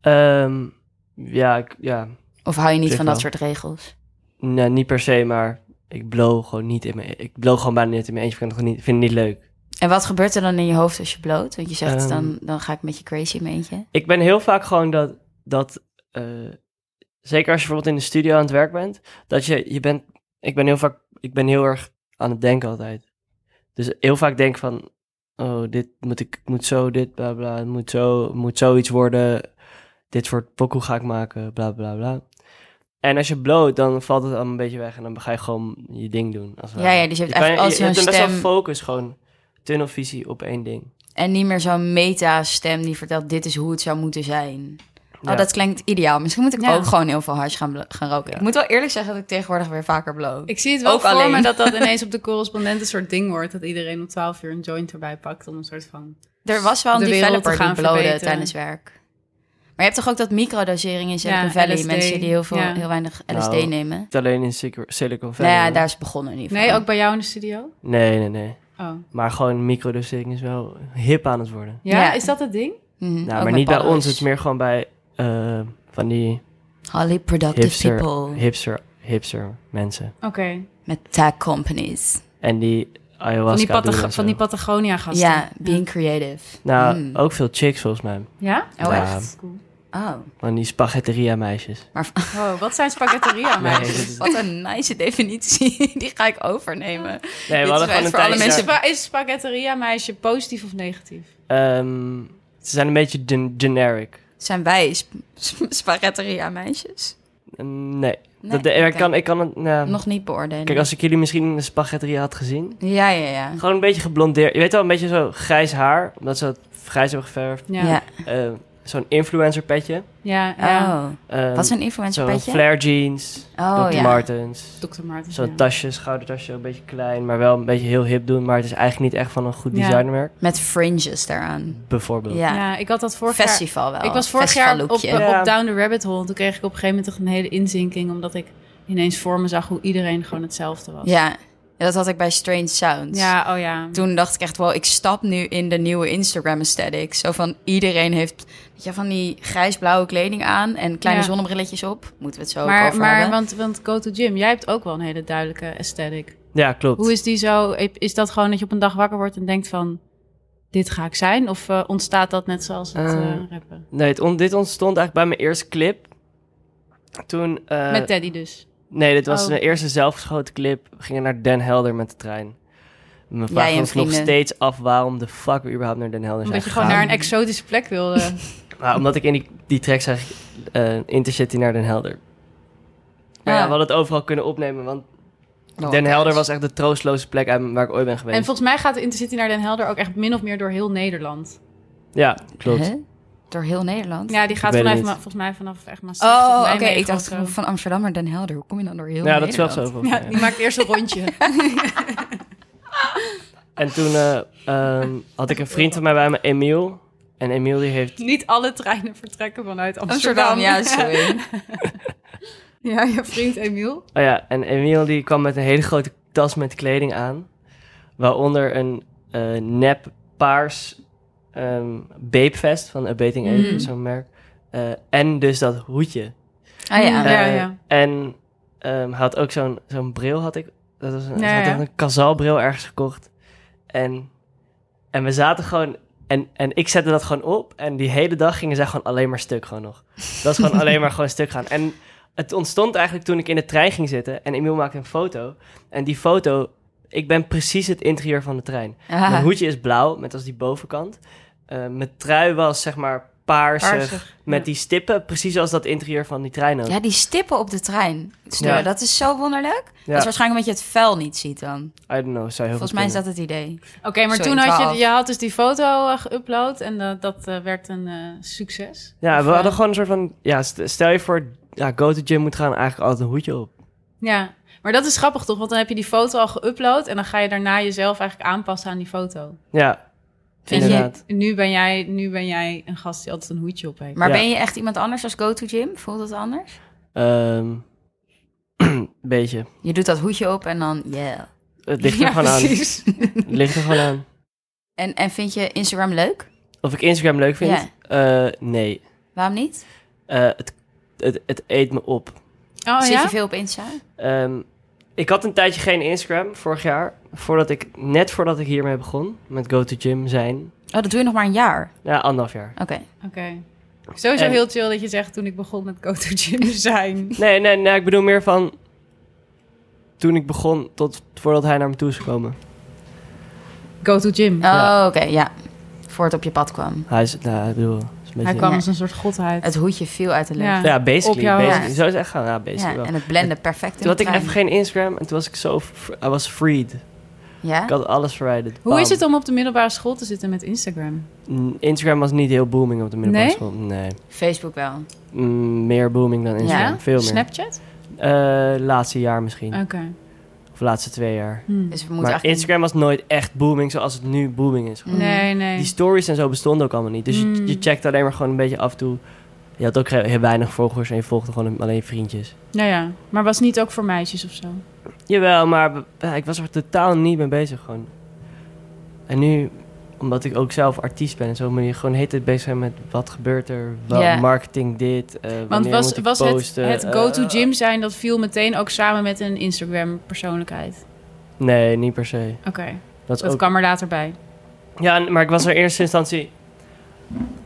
S4: Ehm, ja, ik, ja.
S3: Of hou je niet
S4: Zeg
S3: van dat
S4: wel.
S3: soort regels?
S4: Nee, niet per se, maar ik blow gewoon niet in mijn... Ik blow gewoon bijna niet in mijn eentje. Ik vind het gewoon niet, vind het niet leuk.
S3: En wat gebeurt er dan in je hoofd als je bloot? Want je zegt,
S4: Ehm.
S3: dan, dan ga ik met je crazy in mijn eentje.
S4: Ik ben heel vaak gewoon dat. dat eh, zeker als je bijvoorbeeld in de studio aan het werk bent. Dat je. je bent, ik ben heel vaak. Ik ben heel erg aan het denken altijd. Dus heel vaak denk van. Oh, dit moet ik. moet zo, dit, bla bla. Het moet, zo, het moet zoiets worden. Dit soort pokoe ga ik maken, bla bla bla. En als je bloot, dan valt het allemaal een beetje weg. En dan ga je gewoon je ding doen. Als het
S3: Ja, ja,
S4: ware.
S3: dus je hebt
S4: kan-
S3: echt
S4: je
S3: altijd
S4: hebt
S3: zo'n
S4: een best wel
S3: stem.
S4: focus gewoon. Tunnelvisie op één ding.
S3: En niet meer zo'n meta-stem die vertelt, dit is hoe het zou moeten zijn.
S4: Ja.
S3: Oh, dat klinkt ideaal. Misschien moet ik
S2: Ja.
S3: ook gewoon heel veel hash gaan, blo- gaan roken. Ik moet wel eerlijk zeggen dat ik tegenwoordig weer vaker bloot.
S2: Ik zie het wel
S3: Ook
S2: voor
S3: alleen.
S2: me dat [LAUGHS] dat ineens op de correspondent een soort ding wordt. Dat iedereen om 12 uur een joint erbij pakt om een soort van...
S3: Er was wel een
S2: de wereld
S3: developer
S2: te gaan
S3: die blode
S2: verbeteren.
S3: tijdens werk. Maar je hebt toch ook dat microdosering in Silicon
S2: Ja,
S3: Valley?
S2: LSD.
S3: Mensen die heel, veel,
S2: Ja.
S3: heel weinig LSD
S4: Nou,
S3: nemen.
S4: Niet alleen in Silicon- Silicon Valley.
S3: Nou ja,
S4: hoor.
S3: daar is het begonnen in ieder geval.
S2: Nee, ook bij jou in de studio?
S4: Nee, nee, nee.
S2: Oh.
S4: Maar gewoon microdosering is wel hip aan het worden.
S2: Ja,
S3: Ja.
S2: is dat het ding?
S3: Mhm, ook
S4: nou, maar
S3: met
S4: niet bij
S3: paddels.
S4: ons. Het is meer gewoon bij eh, van die
S3: Highly productive
S4: hipster,
S3: people.
S4: hipster, hipster mensen.
S2: Oké.
S3: Met tech companies.
S4: En die ayahuasca
S2: Van die,
S4: doen
S2: Patag-
S4: en
S2: van die
S4: zo.
S2: Patagonia gasten.
S3: Ja, being creative.
S4: Nou,
S3: Mm.
S4: ook veel chicks volgens mij.
S2: Ja?
S3: Oh,
S4: Ja.
S3: echt?
S2: Cool.
S3: Oh.
S4: Van die spaghetteria meisjes.
S3: Maar
S2: Oh, wat zijn spaghetteria,
S4: [LAUGHS] Nee,
S2: meisjes?
S4: dit is-
S3: wat een nice definitie. [LAUGHS] Die ga ik overnemen.
S4: nee we
S3: is
S4: hadden
S3: echt
S4: gewoon een
S3: voor alle
S4: tijdje...
S2: Is,
S3: mensen-
S4: daar-
S2: spa- is spaghetteria meisje positief of negatief?
S4: Ehm, ze zijn een beetje gen- generic.
S3: Zijn wij sp- sp- spaghetteria meisjes?
S4: Ehm, Nee.
S3: Nee,
S4: dat, ik,
S3: oké.
S4: kan, ik kan het... nou,
S3: Nog niet beoordelen.
S4: Kijk, als ik jullie misschien in de spaghetteria had gezien...
S3: Ja, ja, ja.
S4: Gewoon een beetje geblondeerd. Je weet wel, een beetje zo grijs haar. Omdat ze het grijs hebben geverfd.
S2: Ja.
S3: ja.
S2: Ja,
S4: Eh, Zo'n influencer petje.
S2: ja.
S3: Oh,
S4: Ehm,
S3: wat is een
S4: Zo'n
S3: influencer
S4: flare jeans.
S3: Oh,
S4: Dr.
S3: ja.
S4: Martens.
S2: Dr. Martens.
S4: Zo'n
S2: ja.
S4: tasje, schoudertasje, een beetje klein, maar wel een beetje heel hip doen. Maar het is eigenlijk niet echt van een goed
S2: Ja.
S4: designermerk.
S3: Met fringes daaraan.
S4: Bijvoorbeeld.
S3: Ja.
S2: Ja. ik had dat vorig jaar...
S3: Festival wel.
S2: Ik was vorig jaar op, op
S3: Oh, Festivallookje.
S4: Ja.
S2: Down the Rabbit Hole. En toen kreeg ik op een gegeven moment toch een hele inzinking. Omdat ik ineens voor me zag hoe iedereen gewoon hetzelfde was.
S3: Ja, Ja, dat had ik bij Strange Sounds.
S2: Ja, oh ja.
S3: Toen dacht ik echt wel, ik stap nu in de nieuwe Instagram aesthetic. Zo van iedereen heeft weet je, van die grijs-blauwe kleding aan en kleine
S2: Ja.
S3: zonnebrilletjes op. Moeten we het zo ook
S2: maar
S3: over
S2: maar
S3: hebben.
S2: want, want Go To Gym, jij hebt ook wel een hele duidelijke aesthetic.
S4: Ja, klopt.
S2: Hoe is die zo? Is dat gewoon dat je op een dag wakker wordt en denkt van... Dit ga ik zijn? Of eh, ontstaat dat net zoals het
S4: Eh,
S2: eh, rappen?
S4: Nee, het on- dit ontstond eigenlijk bij mijn eerste clip. Toen... eh,
S2: Met Teddy dus.
S4: Nee, dit was
S2: Oh.
S4: mijn eerste zelfgeschoten clip. We gingen naar Den Helder met de trein. Mijn vraag
S3: en
S4: was nog
S3: vrienden.
S4: steeds af waarom de fuck we überhaupt naar Den Helder zijn
S2: Omdat je gewoon
S4: gegaan.
S2: naar een exotische plek
S3: [LAUGHS]
S2: wilde.
S4: Maar Ah, omdat ik in die, die track zag, eh, Intercity naar Den Helder. Maar ja,
S3: Ah.
S4: we hadden het overal kunnen opnemen, want
S3: Oh,
S4: Den Helder
S3: kut.
S4: was echt de troostloze plek uit- waar ik ooit ben geweest.
S2: en volgens mij gaat de Intercity naar Den Helder ook echt min of meer door heel Nederland.
S4: Ja, klopt.
S3: Hè? Door heel Nederland?
S2: Ja, die gaat
S4: weet het
S2: vanaf,
S4: niet.
S2: ma- volgens mij vanaf echt Maastricht tot
S3: Oh, oké.
S2: Nijmegen
S3: Ik dacht
S2: of zo.
S3: van Amsterdam naar Den Helder. Hoe kom je dan door heel
S4: Ja, dat is wel
S3: Nederland?
S4: zo. volgens
S2: Ja,
S4: mij.
S2: die maakt eerst een rondje. [LAUGHS]
S4: En toen eh, ehm, had ik een vriend van mij bij me, Emiel. En Emiel die heeft...
S2: Niet alle treinen vertrekken vanuit Amsterdam.
S3: Amsterdam,
S2: [LAUGHS]
S3: ja, [LAUGHS] sorry.
S2: Ja, je vriend Emiel.
S4: Oh ja, en Emiel die kwam met een hele grote tas met kleding aan. Waaronder een eh, nep paars ehm Bapevest van A Bating Ape,
S2: Mm.
S4: zo'n merk. Eh, en dus dat hoedje.
S3: Ah ja.
S2: Ja,
S4: Eh,
S2: ja.
S4: En ehm, hij had ook zo'n zo'n bril, had ik. Dat was een,
S2: Ja,
S4: hij had
S2: ja.
S4: echt een kazalbril ergens gekocht. En, en we zaten gewoon... En, en ik zette dat gewoon op. En die hele dag gingen zij gewoon alleen maar stuk gewoon nog. Dat was
S2: [LAUGHS]
S4: gewoon alleen maar gewoon stuk gaan. En het ontstond eigenlijk toen ik in de trein ging zitten. En Emiel maakte een foto. En die foto... Ik ben precies het interieur van de trein.
S3: Ah.
S4: Mijn hoedje is blauw, met als die bovenkant. Eh, mijn trui was zeg maar paarsig.
S2: Paarsig,
S4: met
S2: ja.
S4: die stippen, precies als dat interieur van die trein ook.
S3: Ja, die stippen op de trein. Stuur,
S4: Ja.
S3: Dat is zo wonderlijk.
S4: Ja.
S3: Dat is waarschijnlijk omdat je het vuil niet ziet dan.
S4: I don't know, zou heel
S3: Dus Volgens
S4: goed
S3: mij is
S4: kunnen.
S3: dat het idee.
S2: Oké, maar
S3: Sorry,
S2: toen had
S3: 12.
S2: je, je had dus die foto eh, geüpload en eh, dat eh, werd een eh, succes.
S4: Ja,
S2: Of,
S4: we
S2: eh,
S4: hadden gewoon een soort van... Ja, st- stel je voor, ja, go to gym moet gaan eigenlijk altijd een hoedje op.
S2: Ja, maar dat is grappig toch? Want dan heb je die foto al geüpload en dan ga je daarna jezelf eigenlijk aanpassen aan die foto.
S4: Ja,
S3: Vind je-
S4: inderdaad.
S2: En nu ben jij, nu ben jij een gast die altijd een hoedje op heeft.
S3: Maar
S4: Ja.
S3: ben je echt iemand anders als go to gym? Voelt het anders?
S4: Ehm, [CLEARS THROAT] beetje.
S3: Je doet dat hoedje op en dan yeah.
S4: Het ligt er
S2: Ja,
S4: gewoon
S2: precies.
S4: aan. Het ligt er gewoon aan.
S3: En, en vind je Instagram leuk?
S4: Of ik Instagram leuk vind? Eh, nee.
S3: Waarom niet?
S4: Eh, het, het, het eet me op.
S2: Oh
S3: Zit
S2: ja?
S3: je veel op Insta?
S4: Ehm, ik had een tijdje geen Instagram vorig jaar. Voordat ik, net voordat ik hiermee begon, met go to gym zijn.
S3: Oh, dat doe je nog maar een jaar.
S4: Ja, anderhalf jaar.
S3: Oké.
S2: Oké. Sowieso
S4: En-
S2: heel chill dat je zegt toen ik begon met Go To Gym zijn.
S4: Nee, nee, nee, ik bedoel meer van... Toen ik begon, tot voordat hij naar me toe is gekomen.
S2: Go To Gym.
S4: Ja.
S3: Oh, oké, ja. Voor het op je pad kwam.
S4: Hij is, nou, ik bedoel, is een beetje...
S2: Hij kwam
S3: Ja.
S2: als een soort godheid.
S3: Het hoedje viel uit de lucht.
S2: Ja.
S3: Ja,
S4: Ja, basically.
S2: Op jou,
S4: basically.
S3: ja.
S4: Zo is het echt gaan. Ja, basically wel.
S3: en het blende perfect in
S4: Toen had
S3: de
S4: ik
S3: trein.
S4: even geen Instagram en toen was ik zo... fr- I was freed.
S3: Ja?
S4: Ik had alles verwijderd.
S2: Hoe
S4: Bam.
S2: is het om op de middelbare school te zitten met Instagram?
S4: Mm, Instagram was niet heel booming op de middelbare
S2: Nee?
S4: school. Nee.
S3: Facebook wel.
S4: Mm, meer booming dan Instagram.
S3: Ja?
S4: Veel meer. Mm.
S2: Snapchat?
S4: Eh, laatste jaar misschien.
S2: Oké.
S4: Of laatste twee jaar.
S2: Hm.
S3: Dus we moeten
S4: maar
S3: eigenlijk-
S4: Instagram was nooit echt booming zoals het nu booming is.
S3: Mm.
S2: Nee, nee.
S4: Die stories en zo bestonden ook allemaal niet. Dus je,
S2: Mm.
S4: je checkt alleen maar gewoon een beetje af en toe. Je had ook heel weinig volgers en je volgde gewoon alleen vriendjes.
S2: Nou ja, maar was niet ook voor meisjes of zo?
S4: Jawel, maar b- ja, ik was er totaal niet mee bezig gewoon. En nu, omdat ik ook zelf artiest ben en zo, moet je gewoon de hele tijd bezig zijn met wat gebeurt er, wat
S3: Ja.
S4: marketing dit, eh
S2: Want
S4: wanneer
S2: was,
S4: moet ik
S2: was het,
S4: posten.
S2: het Go To
S4: eh,
S2: Gym zijn, dat viel meteen ook samen met een Instagram persoonlijkheid?
S4: Nee, niet per se.
S2: Oké,
S4: Dat, is
S2: dat
S4: ook...
S2: kwam er later bij.
S4: Ja, en- maar ik was er in eerste instantie...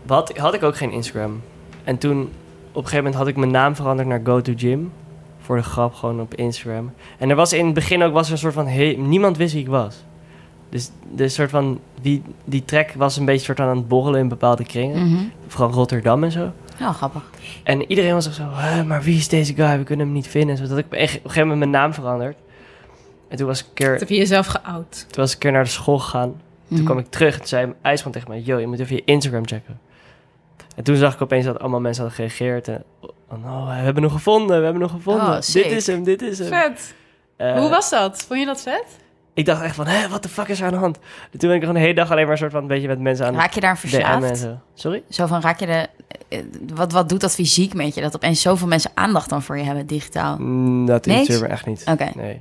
S4: Wat, had ik ook geen Instagram. En toen, op een gegeven moment had ik mijn naam veranderd naar Go To Gym. Voor de grap, gewoon op Instagram. En er was in het begin ook was er een soort van... he- niemand wist wie ik was. Dus de soort van... Die, die track was een beetje soort aan het borrelen in bepaalde kringen.
S3: Mhm.
S4: Vooral Rotterdam en zo.
S3: Oh, grappig.
S4: En iedereen was echt zo, "Hè, maar wie is deze guy? We kunnen hem niet vinden. Zodat ik op een gegeven moment mijn naam veranderd. En toen was ik een keer,
S2: Dat heb je jezelf geout.
S4: toen was ik een keer naar de school gegaan.
S3: Mhm.
S4: Toen kwam ik terug en toen zei IJsman tegen mij... Yo, je moet even je Instagram checken. En toen zag ik opeens dat allemaal mensen hadden gereageerd. En, oh, we hebben hem gevonden, we hebben hem gevonden.
S3: Oh, sick.
S4: dit is hem, dit is hem.
S2: Vet.
S4: Eh,
S2: Hoe was dat? Vond je dat vet?
S4: Ik dacht echt van, hé, wat de fuck is er aan de hand? En toen ben ik gewoon de hele dag alleen maar een soort van... een beetje met mensen aan het
S3: Raak je daar
S4: DM'en en
S3: verslaafd?
S4: zo. Sorry?
S3: Zo van, raak je de... eh, Wat, wat doet dat fysiek met je? Dat opeens zoveel mensen aandacht dan voor je hebben, digitaal.
S4: Mm, Dat
S3: Oh. Niks?
S4: is er echt niet.
S3: Oké.
S4: Nee.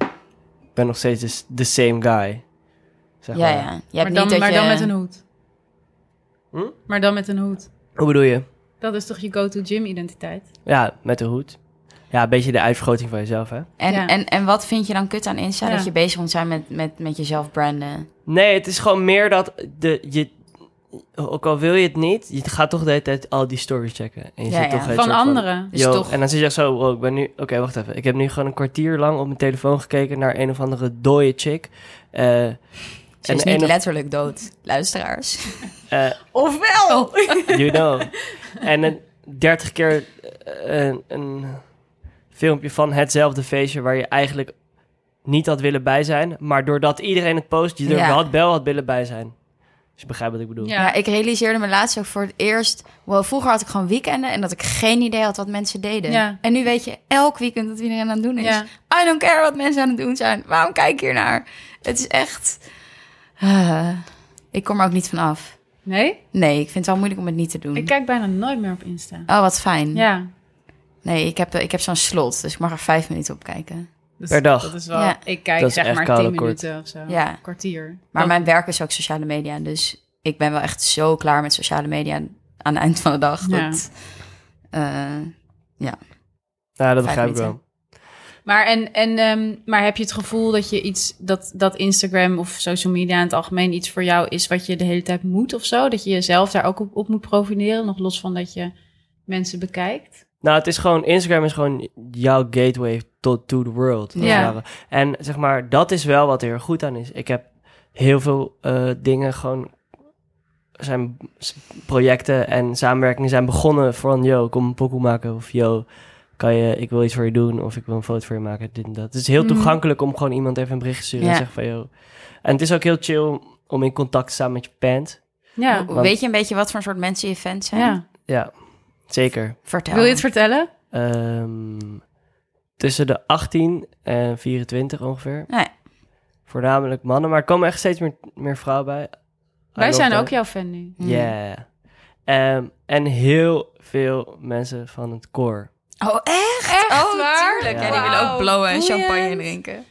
S4: ben nog steeds de s- the same guy. Zeg
S3: Ja,
S4: maar.
S3: ja. Je hebt
S2: Maar, dan,
S3: niet dat
S2: maar
S3: je...
S2: dan met een hoed.
S4: Hm?
S2: Maar dan met een hoed.
S4: Hoe bedoel je?
S2: Dat is toch je go-to-gym-identiteit?
S4: Ja, met de hoed. Ja, een beetje de uitvergroting van jezelf, hè?
S3: en,
S2: Ja.
S3: en, en wat vind je dan kut aan Insta?
S2: Ja.
S3: Dat je bezig moet zijn met, met, met jezelf branden.
S4: Nee, het is gewoon meer dat de, je, ook al wil je het niet, je gaat toch de hele tijd al die stories checken. En je
S3: Ja,
S4: zit
S3: ja.
S4: toch de hele
S2: Van
S4: soort
S2: anderen.
S3: Dus
S4: Yo,
S3: toch-
S4: En dan zit je echt zo, wow, ik ben nu... Oké, wacht even. Ik heb nu gewoon een kwartier lang op mijn telefoon gekeken naar een of andere dode chick. Eh,
S3: Ze
S4: En
S3: is
S4: de
S3: niet
S4: ene-
S3: letterlijk dood,
S2: [LAUGHS]
S3: luisteraars. Oh,
S4: eh,
S1: Ofwel!
S4: you
S3: [LAUGHS]
S4: know. en een dertig keer eh, een, een filmpje van hetzelfde feestje waar je eigenlijk niet had willen bij zijn. Maar doordat iedereen het post, je er
S3: Ja.
S4: had wel had willen bij zijn. Dus je begrijpt wat ik bedoel.
S3: Ja. ik realiseerde me laatst ook voor het eerst... Wow, vroeger had ik gewoon weekenden en dat ik geen idee had wat mensen deden.
S2: Ja.
S3: En nu weet je elk weekend wat iedereen aan het doen is.
S2: Ja.
S3: I don't care wat mensen aan het doen zijn. Waarom kijk je naar? Het is echt... Ah, ik kom er ook niet van af.
S2: Nee?
S3: Nee, ik vind het wel moeilijk om het niet te doen.
S4: Hm.
S2: Ik kijk bijna nooit meer op Insta.
S3: Oh, wat fijn.
S2: Ja.
S3: Nee, ik heb, ik heb zo'n slot, dus ik mag er vijf minuten op kijken.
S2: Dus
S4: Per dag.
S2: Dat is wel,
S3: Ja.
S2: Ik kijk
S4: Dat is
S2: zeg
S4: echt
S2: maar
S4: koude
S2: 10
S4: kort.
S2: minuten of zo.
S3: Ja.
S2: Kwartier.
S3: Maar
S2: Dan-
S3: mijn werk is ook sociale media, dus ik ben wel echt zo klaar met sociale media aan het eind van de dag.
S2: Ja.
S3: Dat, eh,
S4: Nou, dat
S3: Vijf
S4: begrijp ik wel.
S3: minuten.
S2: Maar, en, en, ehm, maar heb je het gevoel dat je iets, dat, dat Instagram of social media in het algemeen iets voor jou is wat je de hele tijd moet of zo? Dat je jezelf daar ook op, op moet profileren, nog los van dat je mensen bekijkt?
S4: Nou, het is gewoon, Instagram is gewoon jouw gateway tot to the world. als het
S2: Ja.
S4: ware. En zeg maar, dat is wel wat er goed aan is. Ik heb heel veel eh, dingen gewoon, zijn s- projecten en samenwerkingen zijn begonnen van, yo, kom een pokoe maken. Of yo, kan je, ik wil iets voor je doen. Of ik wil een foto voor je maken, dit en dat. Het is heel
S2: Mhm.
S4: toegankelijk om gewoon iemand even een bericht te sturen
S3: Mm. Ja.
S4: en zeggen van, yo. En het is ook heel chill om in contact te staan met je band.
S2: Ja.
S3: hoe- Weet je een beetje wat voor soort mensen je fans zijn?
S2: ja.
S4: Ja, zeker.
S3: Vertel.
S2: Wil je het vertellen?
S4: Ehm, tussen de 18 en 24 ongeveer.
S3: Nee.
S4: Voornamelijk mannen, maar er komen echt steeds meer, meer vrouwen bij. I
S2: Wij
S4: love
S2: zijn
S4: that.
S2: ook jouw fan nu.
S3: Mm.
S4: Yeah. Ehm, en heel veel mensen van het koor.
S3: Oh, echt? Echt oh,
S2: waar?
S3: Tuurlijk.
S4: Ja.
S3: En die willen ook
S2: Wauw,
S3: blowen en
S2: boeiend.
S3: champagne drinken.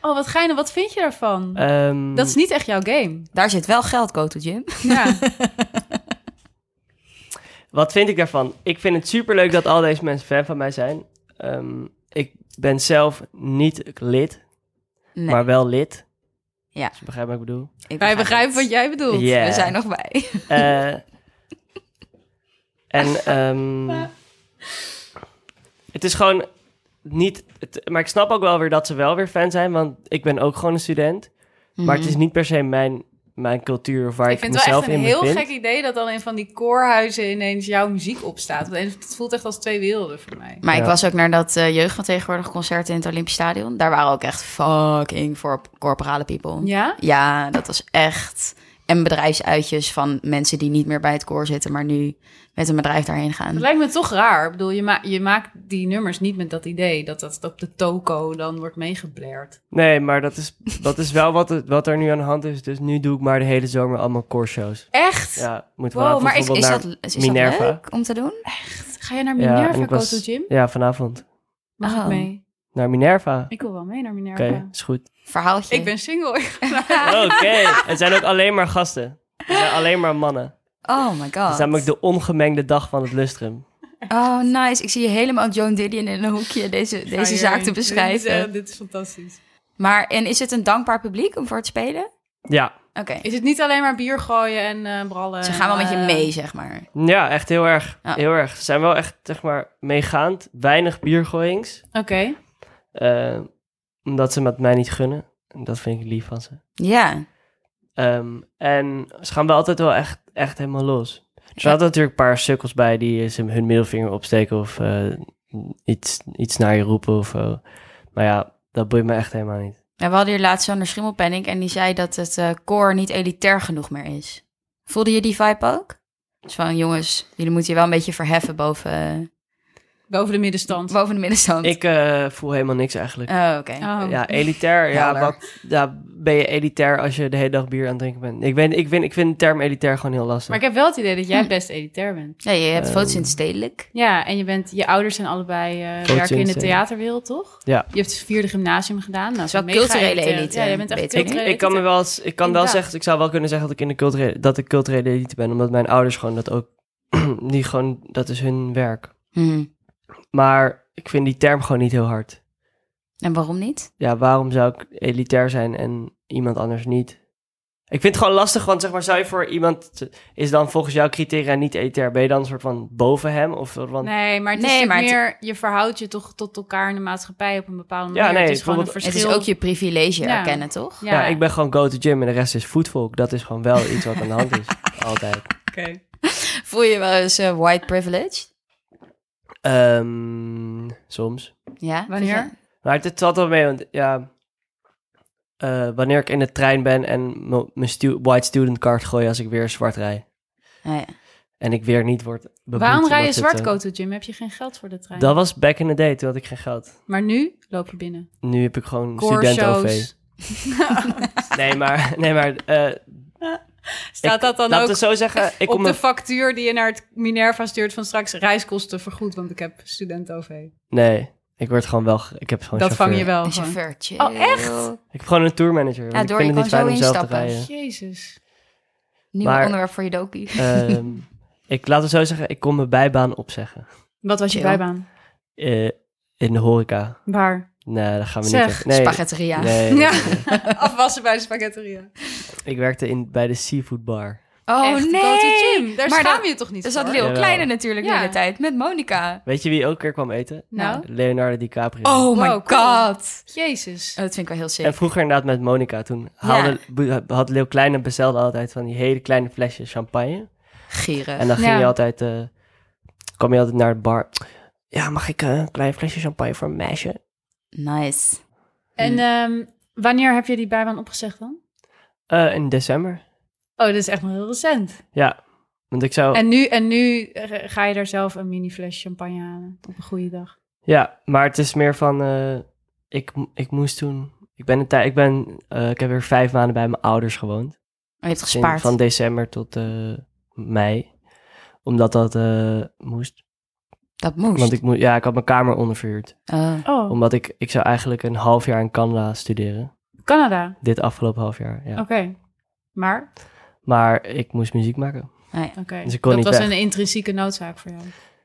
S2: Oh, wat geinig. Wat vind je daarvan?
S4: Ehm,
S2: dat is niet echt jouw game.
S3: Daar zit wel geld, go to gym.
S4: [LAUGHS]
S2: Ja.
S4: Wat vind ik daarvan? Ik vind het superleuk dat al deze mensen fan van mij zijn. Ehm, ik ben zelf niet lid,
S3: Nee,
S4: maar wel lid.
S3: Ja.
S4: Dus je begrijpt wat ik bedoel.
S3: ik
S2: Wij begrijpen
S3: het.
S2: wat jij bedoelt.
S4: Ja.
S3: We zijn nog bij.
S4: Eh, en ehm, het is gewoon niet. het- maar ik snap ook wel weer dat ze wel weer fan zijn, want ik ben ook gewoon een student. Maar
S3: Mhm.
S4: het is niet per se mijn, mijn cultuur of waar ik,
S2: Mhm. ik vind het wel
S4: mezelf
S2: echt een
S4: in
S2: heel
S4: bevind.
S2: gek idee dat dan in van die koorhuizen ineens jouw muziek opstaat. Want Het voelt echt als twee werelden voor mij.
S3: Maar ik
S4: Ja.
S3: was ook naar dat eh, jeugd van tegenwoordig concert in het Olympisch Stadion. Daar waren ook echt fucking voor corporale people.
S2: Ja?
S3: Ja, dat was echt. En bedrijfsuitjes van mensen die niet meer bij het koor zitten, maar nu met een bedrijf daarheen
S2: Dat
S3: gaan.
S2: lijkt me toch raar. Ik bedoel, je, ma- je maakt die nummers niet met dat idee dat dat op de toko dan wordt meegeblerd.
S4: Nee, maar dat is, dat is wel wat, het- wat er nu aan de hand is. Dus nu doe ik maar de hele zomer allemaal core-shows.
S2: Echt?
S4: Ja, moet
S2: Wow,
S4: vanavond
S2: maar is-
S4: bijvoorbeeld
S3: Is
S4: naar
S3: dat, is dat
S4: Minerva.
S3: leuk om te doen?
S2: Ga je naar
S4: Ja,
S2: Minerva,
S4: en ik
S2: Koto
S4: was-
S2: Gym?
S4: Ja, vanavond.
S2: Mag
S3: Oh.
S2: ik mee?
S4: Naar Minerva.
S2: Ik wil wel mee naar
S4: Oké,
S2: Minerva.
S4: is goed. [LAUGHS]
S3: Verhaaltje.
S2: Ik ben single. [LAUGHS]
S4: Oké, het zijn ook alleen maar gasten. Het zijn alleen maar mannen.
S3: Oh my
S4: Het
S3: god.
S4: is namelijk de ongemengde dag van het lustrum.
S3: Oh nice. Ik zie je helemaal Joan Didion in een hoekje deze, deze zaak te
S2: Dit is,
S3: beschrijven.
S2: eh, dit is fantastisch.
S3: Maar en is het een dankbaar publiek om voor te spelen?
S4: Ja,
S3: Oké.
S2: Is het niet alleen maar bier gooien en eh, brallen?
S3: Ze gaan wel met je
S2: eh,
S3: mee, zeg maar.
S4: ja echt heel erg.
S3: Ja.
S4: Heel erg. Ze zijn wel echt, zeg maar, meegaand. Weinig biergooiings.
S2: Oké.
S4: eh, omdat ze met mij niet gunnen. En dat vind ik lief van ze.
S3: Ja.
S4: Ehm, en ze gaan wel altijd wel echt, echt helemaal los. Er
S3: Ja.
S4: zaten natuurlijk een paar sukkels bij die eens hun middelvinger opsteken of eh, iets, iets naar je roepen of zo. Maar ja, dat boeit me echt helemaal niet.
S3: En we hadden hier laatst zo'n schimmelpenning en die zei dat het eh, koor niet elitair genoeg meer is. Voelde je die vibe ook? Dus van, jongens, jullie moeten je wel een beetje verheffen boven...
S2: Boven de middenstand.
S3: Boven de middenstand.
S4: Ik eh, voel helemaal niks eigenlijk.
S3: Oh, oké.
S2: Oh.
S4: Ja, elitair. Ja,
S3: Helder.
S4: wat, ja, ben je elitair als je de hele dag bier aan het drinken bent? Ik, weet, ik, vind, ik vind de term elitair gewoon heel lastig.
S2: Maar ik heb wel het idee dat
S3: Hm.
S2: jij best elitair bent.
S3: Ja, je hebt
S4: Ehm.
S3: foto's in het stedelijk.
S2: Ja, en je, bent, je ouders zijn allebei eh,
S4: Coaching
S2: werken in de
S4: zijn.
S2: theaterwereld, toch?
S4: Ja.
S2: Je hebt het vierde gymnasium gedaan. Nou,
S3: is wel
S2: zo'n mega
S3: culturele
S2: elitair-
S3: elite,
S2: Ja, je bent echt
S3: beter.
S4: Ik,
S2: culturele
S4: ik kan, me
S2: elite.
S4: wel, eens- ik kan wel
S2: Inderdaad.
S4: zeggen, ik zou wel kunnen zeggen dat ik in de culturele, dat ik culturele elite ben, omdat mijn ouders gewoon dat ook, [CLEARS THROAT] die gewoon, dat is hun werk.
S3: Mhm.
S4: Maar ik vind die term gewoon niet heel hard.
S3: En waarom niet?
S4: Ja, waarom zou ik elitair zijn en iemand anders niet? Ik vind het gewoon lastig, want zeg maar, zou je voor iemand, is dan volgens jouw criteria niet elitair? Ben je dan een soort van boven hem? Of soort van,
S2: Nee, maar het is
S3: Nee,
S2: natuurlijk
S3: maar het-
S2: meer... Je verhoudt je toch tot elkaar in de maatschappij op een bepaalde
S4: Ja,
S2: manier.
S4: nee,
S2: het is gewoon een
S4: bijvoorbeeld-
S2: verschil.
S3: Het is ook je privilege
S2: Ja.
S3: erkennen, toch?
S4: ja. Nou, ik ben gewoon go to gym en de rest is voetvolk. Dat is gewoon wel iets wat aan de hand
S2: [LAUGHS]
S4: is. Altijd.
S3: Voel je wel eens eh, white privilege?
S4: Ehm, soms.
S3: Ja.
S2: Wanneer?
S4: Maar het, het zat wel mee, want ja... eh, wanneer ik in de trein ben en m- mijn stu- white student card gooi als ik weer zwart rij.
S3: Ah, ja.
S4: En ik weer niet word beboet.
S2: Waarom rij je
S4: omdat het,
S2: zwart,
S4: eh,
S2: Koto Jim? Heb je geen geld voor de trein?
S4: Dat was back in the day, toen had ik geen geld.
S2: Maar nu loop je
S4: [LAUGHS]
S2: binnen.
S4: Nu heb ik gewoon
S2: Core
S4: student-OV.
S2: shows.
S4: Nee, maar... Nee, maar eh,
S2: Staat
S4: ik-
S2: dat dan
S4: laat
S2: ook
S4: we zo zeggen, ik kom
S2: op de
S4: een-
S2: factuur die je naar het Minerva stuurt van straks reiskosten vergoed, want ik heb student OV.
S4: Nee, ik word gewoon wel... ge- Ik heb gewoon
S2: Dat
S4: chauffeur.
S2: vang je wel.
S3: Een
S2: gewoon.
S3: chauffeur, chill.
S2: Oh, echt?
S4: Ik heb gewoon een tourmanager. want ik
S3: door,
S4: vind
S3: je
S4: het niet
S2: oh,
S3: kan
S4: fijn
S3: zo
S4: om zelf te
S3: instappen.
S4: rijden.
S2: Jezus.
S3: Nieuw
S4: Maar-
S3: onderwerp voor je dokie.
S4: Ehm, ik laat het zo zeggen, ik kon mijn bijbaan opzeggen.
S2: Wat was je
S3: Chill.
S2: bijbaan?
S4: Eh, in de horeca.
S2: Waar?
S4: Nee, dat gaan we
S2: Zeg,
S4: niet echt. Nee,
S3: Spaghetteria.
S4: nee,
S2: Ja.
S4: nee, nee.
S2: [LAUGHS] Afwassen bij de spaghetteria.
S4: Ik werkte in, bij de seafood bar.
S3: Oh
S2: Echt, go to
S3: nee!
S2: gym. Daar
S3: Maar
S2: schaam
S3: dat-
S2: je je toch niet
S3: Er
S2: voor?
S3: zat Leo
S4: Jawel.
S3: Kleine natuurlijk de
S2: Ja.
S3: hele tijd met Monica.
S4: Weet je wie ook weer kwam eten?
S2: Nou?
S4: Leonardo DiCaprio.
S3: Oh my
S2: Wow, cool.
S3: god.
S2: Jezus.
S3: Oh, dat vind ik wel heel sick.
S4: En vroeger inderdaad met Monica. Toen haalde, be- had Leeuw Kleine bestelde altijd van die hele kleine flesjes champagne.
S3: Gieren.
S4: En dan ging
S2: Ja.
S4: je altijd, eh, kwam je altijd naar de bar. Ja, mag ik eh, een klein flesje champagne voor een meisje?
S3: Nice. Oh,
S2: En ehm, wanneer heb je die bijbaan opgezegd dan?
S4: Eh, in december.
S2: Oh, dat is echt nog heel recent.
S4: Ja, want ik zou...
S2: En nu, en nu eh, ga je daar zelf een mini fles champagne halen op een goede dag.
S4: Ja, maar het is meer van, eh, ik, ik moest toen, ik ben een tijd, ik ben, eh, ik heb weer vijf maanden bij mijn ouders gewoond.
S3: Oh, je hebt
S4: In-
S3: gespaard.
S4: van december tot eh, mei. Omdat dat eh, moest.
S3: Dat moest.
S4: Want ik moest, ja, ik had mijn kamer onderverhuurd.
S3: Oh.
S2: Oh,
S4: Omdat ik, ik zou eigenlijk een half jaar in Canada studeren.
S2: Canada.
S4: Dit afgelopen half jaar, ja.
S2: Oké. Maar,
S4: Maar ik moest muziek maken.
S2: oké.
S4: Dus ik kon
S2: dat
S4: niet
S2: was
S4: weg.
S2: een intrinsieke noodzaak voor jou.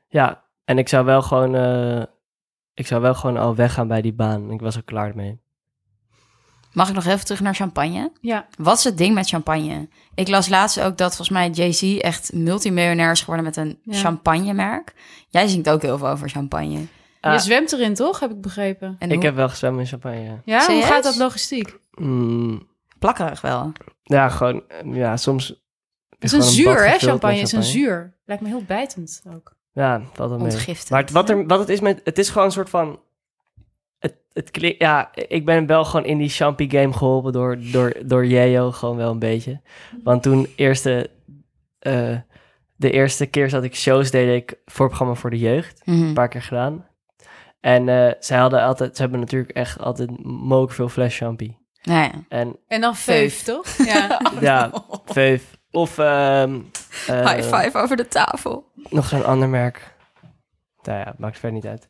S4: Ja, en ik zou wel gewoon, eh, ik zou wel gewoon al weggaan bij die baan. Ik was al klaar mee.
S3: Mag ik nog even terug naar champagne?
S2: Ja.
S3: Wat is het ding met champagne? Ik las laatst ook dat volgens mij Jay-Z echt multimiljonair is geworden met een
S2: Ja.
S3: champagnemerk. Jij zingt ook heel veel over champagne.
S4: Ah.
S2: Je zwemt erin, toch? Heb ik begrepen.
S3: En
S4: Ik
S3: hoe-
S4: heb wel gezwemmen in champagne.
S2: Ja, hoe
S3: Serieus?
S2: gaat dat logistiek?
S4: Mm,
S3: plakkerig wel.
S4: ja, gewoon, eh, ja, soms...
S2: Het is
S4: gewoon
S2: een
S4: bad
S2: zuur, hè?
S4: gevuld met
S2: Champagne is een zuur. Lijkt me heel bijtend ook.
S4: Ja, valt wel mee.
S3: Ontgiftigd.
S4: Maar het, wat, er, wat het is met... Het is gewoon een soort van... Het, het klinkt... Ja, ik ben wel gewoon in die champi game geholpen door, door, door Jeo. Gewoon wel een beetje. Want toen eerste... eh, de eerste keer dat ik shows deed, deed ik voorprogramma voor de jeugd.
S3: Mhm.
S4: Een paar keer gedaan. En eh, zij hadden altijd... Ze hebben natuurlijk echt altijd mook veel fles champi.
S3: Nou ja.
S4: En
S2: En dan veuf,
S3: Veuf.
S2: toch? [LAUGHS] Ja.
S4: ja, vijf. Of... ehm, eh,
S3: High five over de tafel.
S4: Nog zo'n ander merk. Nou ja, maakt verder niet uit.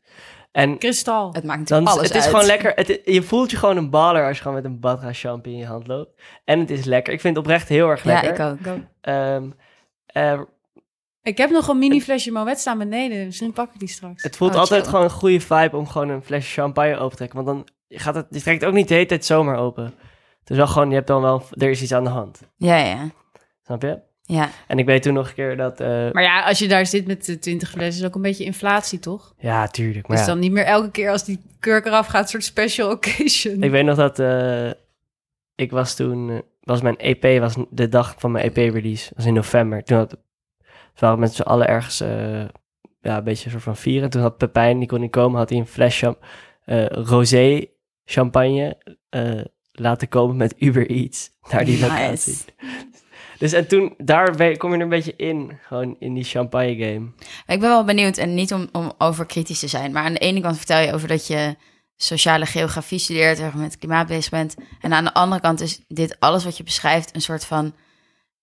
S4: En
S2: Kristal.
S3: Het maakt natuurlijk
S4: Dan,
S3: alles
S4: het is
S3: uit.
S4: gewoon lekker. Het, i- je voelt je gewoon een baller als je gewoon met een badra champi in je hand loopt. En het is lekker. Ik vind het oprecht heel erg
S3: Ja,
S4: lekker.
S3: ik ook.
S4: Ehm, eh,
S2: Ik heb nog een mini flesje Moet staan beneden. Misschien pak ik die straks.
S4: het voelt
S3: Oh,
S4: altijd
S3: chill.
S4: gewoon een goede vibe om gewoon een flesje champagne open te trekken. Want dan gaat het, je trekt ook niet de hele tijd zomaar open. Het is wel gewoon, je hebt dan wel, er is iets aan de hand.
S3: Ja, ja.
S4: Snap je?
S3: ja.
S4: En ik weet toen nog een keer dat, eh,
S2: Maar ja, als je daar zit met de 20 flessen, is ook een beetje inflatie, toch?
S4: ja, tuurlijk. Maar
S2: dus
S4: ja.
S2: dan niet meer elke keer als die kurk eraf gaat, een soort special occasion.
S4: Ik weet nog dat eh, ik was toen, eh, was mijn EP, was de dag van mijn EP-release, was in november. Toen had, toen waren we met z'n allen ergens, eh, ja, een beetje een soort van vieren. Toen had Pepijn, die kon niet komen, had hij een fles cham- eh, rosé champagne eh, laten komen met Uber Eats naar die
S3: Nice.
S4: locatie. Dus en toen, daar ben- kom je er een beetje in, gewoon in die champagne game.
S3: Ik ben wel benieuwd, en niet om, om overkritisch te zijn, maar aan de ene kant vertel je over dat je sociale geografie studeert, erg met het klimaat bezig bent. En aan de andere kant is dit alles wat je beschrijft een soort van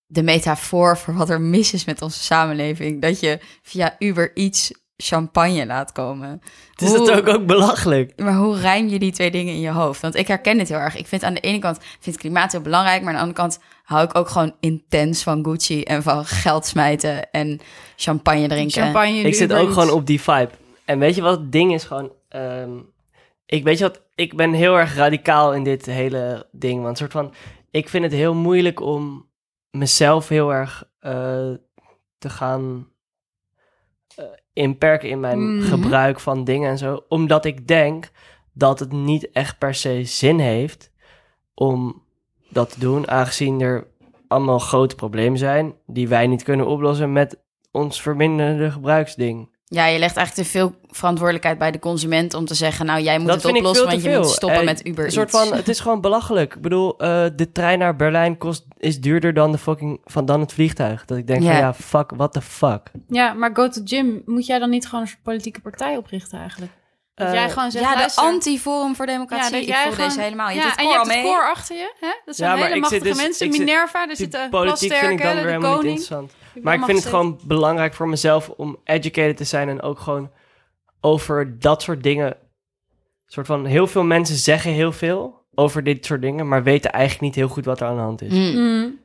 S3: de metafoor voor wat er mis is met onze samenleving. Dat je via Uber iets champagne laat komen.
S4: Het is Dus dat
S3: Hoe-
S4: ook, ook belachelijk.
S3: Maar hoe rijm je die twee dingen in je hoofd? Want ik herken dit heel erg. Ik vind aan de ene kant vind ik klimaat heel belangrijk, maar aan de andere kant hou ik ook gewoon intens van Gucci en van geld smijten en champagne drinken.
S2: Champagne en
S4: Ik zit
S2: Uber
S4: ook gewoon
S2: Eats.
S4: op die vibe. En weet je wat het ding is gewoon? ehm, ik weet je wat, ik ben heel erg radicaal in dit hele ding. Want soort van, ik vind het heel moeilijk om mezelf heel erg eh, te gaan eh, inperken in mijn
S2: Mhm.
S4: gebruik van dingen en zo. Omdat ik denk dat het niet echt per se zin heeft om dat te doen. Aangezien er allemaal grote problemen zijn die wij niet kunnen oplossen met ons verminderde gebruiksding.
S3: Ja, je legt eigenlijk te veel verantwoordelijkheid bij de consument om te zeggen, nou jij moet
S4: Dat
S3: het
S4: vind ik
S3: oplossen,
S4: veel
S3: want
S4: te
S3: je moet
S4: veel.
S3: stoppen
S4: Eh,
S3: met Uber.
S4: Een soort
S3: Eats.
S4: van, het is gewoon belachelijk. Ik bedoel, eh, de trein naar Berlijn kost, is duurder dan, de fucking, van dan het vliegtuig. Dat ik denk
S3: Ja.
S4: van ja, fuck, what the fuck.
S2: Ja, maar go to gym. Moet jij dan niet gewoon een soort politieke partij oprichten eigenlijk? Dat
S4: Eh,
S2: jij gewoon zegt,
S3: ja, de
S2: luister,
S3: anti-forum voor democratie. ik voel deze helemaal. Je
S2: ja,
S3: doet
S2: en je
S3: koor al
S2: hebt het
S3: mee.
S2: koor achter je. Hè? Dat zijn
S4: Ja, maar
S2: hele
S4: ik zit
S2: machtige
S4: dus-
S2: mensen.
S4: ik zit-
S2: Minerva, daar
S4: die
S2: zitten
S4: politiek vind ik dan weer
S2: plasterken, de
S4: helemaal niet
S2: koning.
S4: interessant.
S2: Die
S4: Maar ik
S2: allemaal
S4: vind het
S2: gezeten.
S4: gewoon belangrijk voor mezelf om educated te zijn en ook gewoon over dat soort dingen. Soort van heel veel mensen zeggen heel veel over dit soort dingen, maar weten eigenlijk niet heel goed wat er aan de hand is.
S3: Mm.
S2: Mm,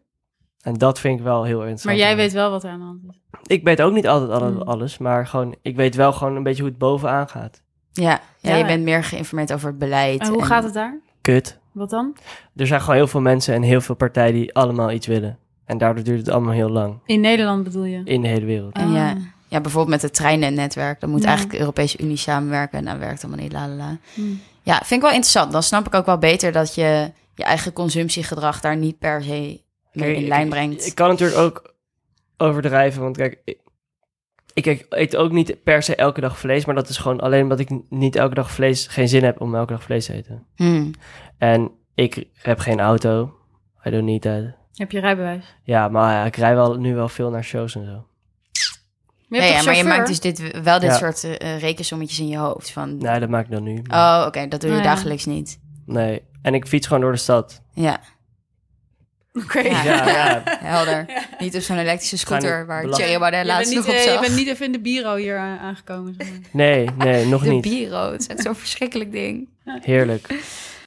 S4: En dat vind ik wel heel
S2: Maar
S4: interessant.
S2: jij weet wel wat er aan de hand is.
S4: Ik weet ook niet altijd alle-
S2: Mm.
S4: alles, maar gewoon, ik weet wel gewoon een beetje hoe het bovenaan gaat.
S3: Ja, ja,
S2: Ja.
S3: je bent meer geïnformeerd over het beleid.
S2: En hoe
S3: en-
S2: gaat het daar?
S4: Kut.
S2: Wat dan?
S4: Er zijn gewoon heel veel mensen en heel veel partijen die allemaal iets willen. En daardoor duurt het allemaal heel lang.
S2: In Nederland bedoel je?
S4: In de hele wereld.
S3: En ja,
S2: Ah.
S3: ja, bijvoorbeeld met het treinennetwerk. Dan moet
S2: Ja.
S3: eigenlijk de Europese Unie samenwerken. En dat werkt allemaal niet, la la la.
S2: Mm.
S3: Ja, vind ik wel interessant. Dan snap ik ook wel beter dat je je eigen consumptiegedrag daar niet per se mee
S4: Kijk,
S3: in
S4: ik-
S3: lijn
S4: Ik,
S3: brengt.
S4: kan natuurlijk ook overdrijven, want kijk, ik, ik, ik eet ook niet per se elke dag vlees, maar dat is gewoon alleen omdat ik n- niet elke dag vlees, geen zin heb om elke dag vlees te eten.
S3: Hmm.
S4: En ik heb geen auto. I don't need that.
S2: Heb je rijbewijs?
S4: Ja, maar ja, ik rij wel, nu wel veel naar shows en zo.
S2: Maar je,
S3: Nee,
S2: hebt
S3: ja,
S2: toch
S3: maar je
S2: chauffeur?
S3: maakt dus dit, wel dit
S4: Ja.
S3: soort eh, rekensommetjes in je hoofd. Van,
S4: Nee, dat maak ik dan nu. maar-
S3: Oh, oké, dat doe je
S2: Oh, ja.
S3: dagelijks niet.
S4: Nee. En ik fiets gewoon door de stad.
S3: Ja,
S2: [LAUGHS] Oké.
S3: Ja.
S4: Ja, ja.
S2: [LAUGHS]
S3: helder. niet op zo'n elektrische
S4: Ga niet
S3: scooter waar
S4: belang-
S3: Thierry Baudet
S2: Je, bent
S3: laatst
S2: niet,
S3: nog op
S2: eh, je
S3: zag.
S2: bent niet even in de bureau hier eh, aangekomen. zeg maar.
S3: [LAUGHS]
S4: Nee, nee, nog
S3: de
S4: niet.
S3: bureau, het is echt zo'n verschrikkelijk ding.
S4: Heerlijk.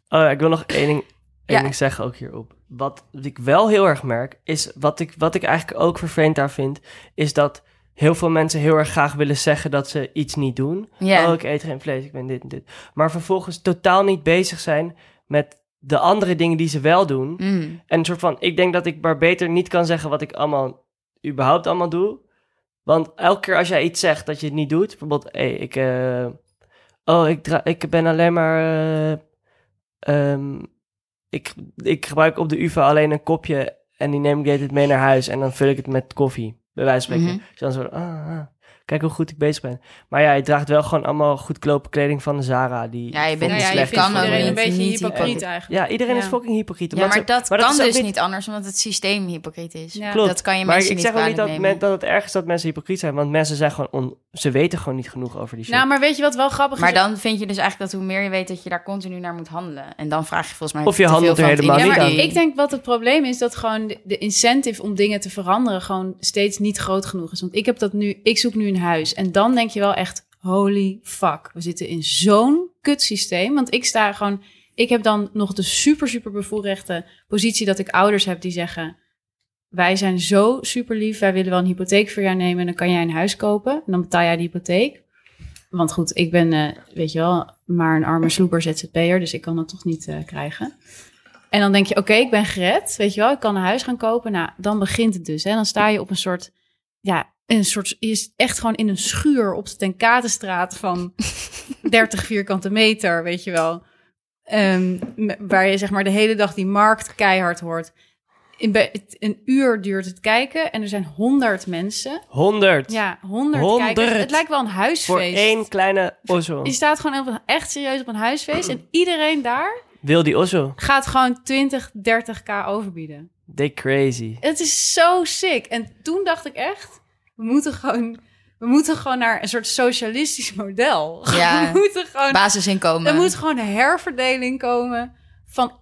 S4: Oh, ja, ik wil nog één ding, één
S3: Ja.
S4: ding zeggen ook hierop. Wat ik wel heel erg merk, is wat ik, wat ik eigenlijk ook vervelend daar vind, is dat heel veel mensen heel erg graag willen zeggen dat ze iets niet doen.
S3: Ja,
S4: Oh, ik eet geen vlees, ik ben dit en dit. Maar vervolgens totaal niet bezig zijn met de andere dingen die ze wel doen.
S3: Mm.
S4: En een soort van, ik denk dat ik maar beter niet kan zeggen wat ik allemaal, überhaupt allemaal doe. Want elke keer als jij iets zegt dat je het niet doet, bijvoorbeeld, hey, ik, eh, oh, ik, dra- ik ben alleen maar, eh, ehm, ik, ik gebruik op de UvA alleen een kopje en die neem ik de hele tijd mee naar huis en dan vul ik het met koffie, bij wijze van spreken.
S3: Mhm.
S4: Dus dan zo, ah, ah, kijk hoe goed ik bezig ben. Maar ja, je draagt wel gewoon allemaal goedkope kleding van de Zara. Die
S3: Ja, je bent-
S4: fucking
S2: Nou ja, je
S4: slecht
S2: vindt
S4: is voor
S3: kan ook
S2: iedereen
S4: mensen.
S2: een
S3: niet.
S2: beetje
S3: Niet
S2: hypocriet
S3: hypocriet.
S2: eigenlijk.
S4: Ja, iedereen is
S2: Ja.
S4: fucking hypocriet.
S3: ja
S4: omdat
S3: maar
S4: ze-
S3: dat
S4: maar
S3: kan
S4: is ook
S3: dus
S4: niet-
S3: niet anders, omdat het systeem hypocriet is.
S2: Ja.
S4: Klopt.
S3: Dat kan je
S4: Maar
S3: mensen
S4: ik
S3: niet
S4: zeg ook niet
S3: kwalijk
S4: dat,
S3: nemen.
S4: men- dat het erg is dat mensen hypocriet zijn. Want mensen zijn gewoon... On, ze weten gewoon niet genoeg over die shit.
S2: Nou, maar weet je wat wel grappig
S3: Maar
S2: is?
S3: dan vind je dus eigenlijk dat hoe meer je weet dat je daar continu naar moet handelen. En dan vraag je volgens mij.
S4: Of je
S3: te veel
S4: handelt er
S3: van het
S4: helemaal
S2: Ja,
S4: niet
S2: maar
S4: aan.
S3: individu.
S2: ik denk wat het probleem is dat gewoon de, de incentive om dingen te veranderen gewoon steeds niet groot genoeg is. Want ik heb dat nu, ik zoek nu een huis en dan denk je wel echt, holy fuck, we zitten in zo'n kut systeem. Want ik sta gewoon, ik heb dan nog de super super bevoorrechte positie dat ik ouders heb die zeggen, wij zijn zo super lief, wij willen wel een hypotheek voor jou nemen en dan kan jij een huis kopen en dan betaal jij de hypotheek. Want goed, ik ben, eh, weet je wel, maar een arme sloeber ZZP'er, dus ik kan dat toch niet eh, krijgen. En dan denk je, oké, ik ben gered, weet je wel, ik kan een huis gaan kopen. Nou, dan begint het dus. Hè. Dan sta je op een soort, ja, een soort, je is echt gewoon in een schuur op de Tenkatenstraat van 30 vierkante meter, weet je wel. Ehm, m- waar je zeg maar de hele dag die markt keihard hoort. In, bij- het- een uur duurt het kijken en er zijn 100 mensen.
S4: 100
S2: Ja, 100, kijkers.
S4: Honderd.
S2: Het lijkt wel een huisfeest.
S4: voor één kleine osso.
S2: Je staat gewoon op een- echt serieus op een huisfeest en iedereen daar
S4: Wil die osso?
S2: gaat gewoon 20, 30k overbieden.
S4: They crazy.
S2: Het is zo sick. En toen dacht ik echt, we moeten gewoon, we moeten gewoon naar een soort socialistisch model. [LAUGHS]
S3: Ja.
S2: We moeten gewoon
S3: Basisinkomen.
S2: Er moet gewoon een herverdeling komen. Van,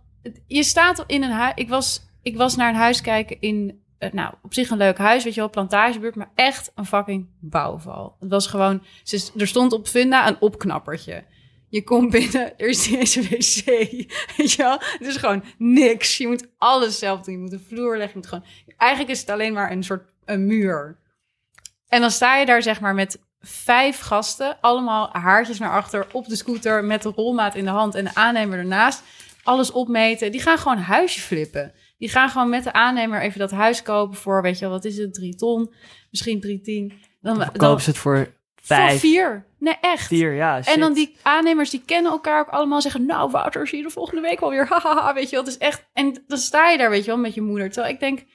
S2: je staat in een huis. Ik was, ik was naar een huis kijken in. eh, Nou, op zich een leuk huis, weet je wel, plantagebuurt, maar echt een fucking bouwval. Het was gewoon, ze- er stond op Funda een opknappertje. Je komt binnen, er is niet eens een wc, [LAUGHS] weet je wel. Het is gewoon niks. Je moet alles zelf doen. Je moet de vloer leggen, je moet gewoon... Eigenlijk is het alleen maar een soort een muur. En dan sta je daar zeg maar met vijf gasten, allemaal haartjes naar achter op de scooter met de rolmaat in de hand en de aannemer ernaast. Alles opmeten. Die gaan gewoon een huisje flippen. Die gaan gewoon met de aannemer even dat huis kopen voor, weet je wel, wat is het, drie ton, misschien drie tien. Dan, dan,
S4: Koop ze het voor
S2: voor
S4: vijf,
S2: vier. Nee, echt.
S4: vier, ja, shit.
S2: En dan die aannemers die kennen elkaar ook allemaal zeggen: Nou, Wouter, zie je er volgende week wel weer. [LAUGHS] Hahaha, weet je wel. Het is echt. En dan sta je daar, weet je wel, met je moeder. Terwijl ik denk: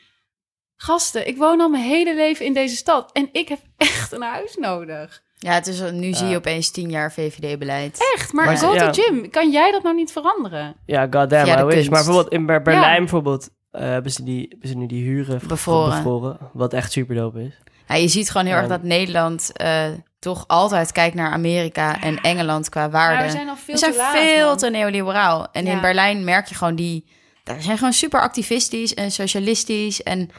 S2: Gasten, ik woon al mijn hele leven in deze stad. En ik heb [LAUGHS] echt een huis nodig.
S3: Ja, het is, nu zie je
S4: Ja.
S3: opeens tien jaar VVD-beleid.
S2: Echt. Maar,
S4: Maar-
S2: go
S4: Ja.
S2: to gym. Kan jij dat nou niet veranderen?
S4: Ja, goddamn,
S3: Via de
S4: I wish.
S3: kunst.
S4: Maar bijvoorbeeld in Ber- Berlijn
S2: Ja.
S4: bijvoorbeeld, eh, hebben, ze die, hebben ze nu die huren v-
S3: Bevroren.
S4: bevroren, Wat echt super dope is.
S3: Ja, Nou, je ziet gewoon heel
S4: Ja.
S3: erg dat Nederland eh, toch altijd kijkt naar Amerika en Engeland qua waarde.
S2: Maar Nou, we zijn al veel
S3: We zijn
S2: te laat.
S3: veel
S2: man.
S3: te neoliberaal. En
S2: Ja.
S3: in Berlijn merk je gewoon die... Daar zijn gewoon super activistisch en socialistisch. En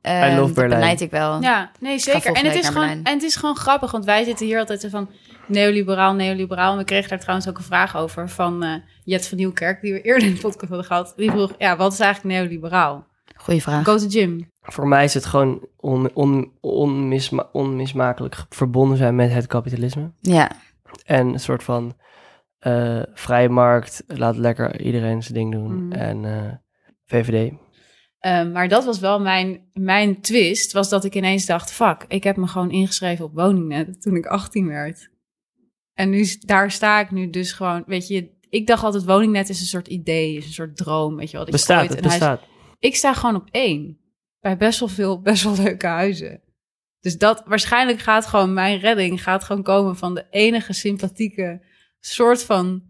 S3: eh,
S4: I love
S3: dat
S4: Berlijn.
S3: benijd ik wel.
S2: Ja, nee, zeker.
S3: volgende
S2: En het,
S3: week
S2: is
S3: naar
S2: gewoon,
S3: Berlijn.
S2: en het is gewoon grappig, want wij zitten hier altijd zo van neoliberaal, neoliberaal. En we kregen daar trouwens ook een vraag over van eh, Jet van Nieuwkerk, die we eerder in de podcast hadden gehad. Die vroeg, ja, wat is eigenlijk neoliberaal?
S3: Goeie vraag.
S2: Go to gym.
S4: Voor mij is het gewoon on, on, onmisma- onmismakelijk ge- verbonden zijn met het kapitalisme.
S3: Ja,
S4: En een soort van eh, vrije markt, laat lekker iedereen zijn ding doen.
S2: Mhm.
S4: En eh, VVD.
S2: Ehm, maar dat was wel mijn, mijn twist, was dat ik ineens dacht, fuck, ik heb me gewoon ingeschreven op woningnet toen ik 18 werd. En nu, s- daar sta ik nu dus gewoon, weet je, ik dacht altijd woningnet is een soort idee, is een soort droom, weet je wel. dat je
S4: Bestaat,
S2: ooit
S4: het
S2: een huis-
S4: bestaat.
S2: Ik sta gewoon op één. Bij best wel veel, best wel leuke huizen. Dus dat waarschijnlijk gaat gewoon mijn redding gaat gewoon komen van de enige sympathieke soort van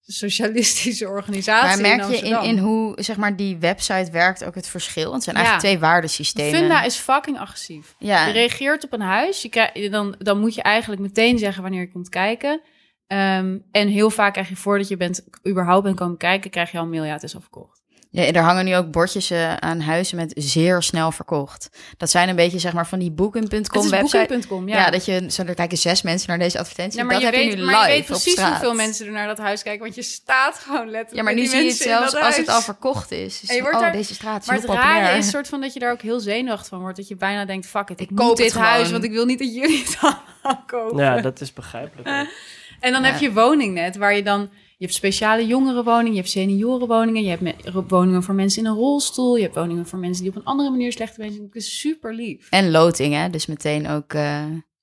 S2: socialistische organisatie.
S3: maar merk je in,
S2: Amsterdam.
S3: in hoe zeg maar, die website werkt ook het verschil? Want het zijn eigenlijk
S2: Ja.
S3: twee waardesystemen.
S2: Funda is fucking agressief.
S3: ja.
S2: Je reageert op een huis, je krijg- je- dan, dan moet je eigenlijk meteen zeggen wanneer je komt kijken. Ehm, en heel vaak krijg je voordat je bent, überhaupt bent komen kijken, krijg je al een mail, ja, het is al verkocht.
S3: Ja, er hangen nu ook bordjes eh, aan huizen met zeer snel verkocht. Dat zijn een beetje zeg maar van die
S2: het
S3: booking.com
S2: is
S3: website.
S2: booking.com,
S3: Ja. dat je zo er kijken zes mensen naar deze advertentie.
S2: Nee, maar
S3: dat
S2: je
S3: heb
S2: weet,
S3: je nu live
S2: maar je weet
S3: op
S2: precies
S3: straat.
S2: hoeveel mensen er naar dat huis kijken, want je staat gewoon letterlijk.
S3: Ja, maar nu
S2: met die
S3: zie je het
S2: mensen in
S3: zelfs
S2: dat
S3: als het
S2: huis.
S3: al verkocht is. Dus
S2: En je
S3: van,
S2: wordt
S3: oh,
S2: daar-
S3: deze straat is
S2: Maar
S3: heel
S2: het rare
S3: populair.
S2: is soort van dat je daar ook heel zenuwachtig van wordt, dat je bijna denkt: fuck it, ik,
S3: Ik
S2: moet
S3: koop
S2: dit
S3: het
S2: huis,
S3: gewoon.
S2: want ik wil niet dat jullie het [LAUGHS] allemaal kopen.
S4: Ja, dat is begrijpelijk. hoor.
S2: [LAUGHS] En dan
S3: Ja.
S2: heb je woningnet, waar je dan... Je hebt speciale jongerenwoningen, je hebt seniorenwoningen... je hebt me- ro- woningen voor mensen in een rolstoel... je hebt woningen voor mensen die op een andere manier slechte mensen zijn. Het is super lief.
S3: En loting, hè? Dus meteen ook. eh,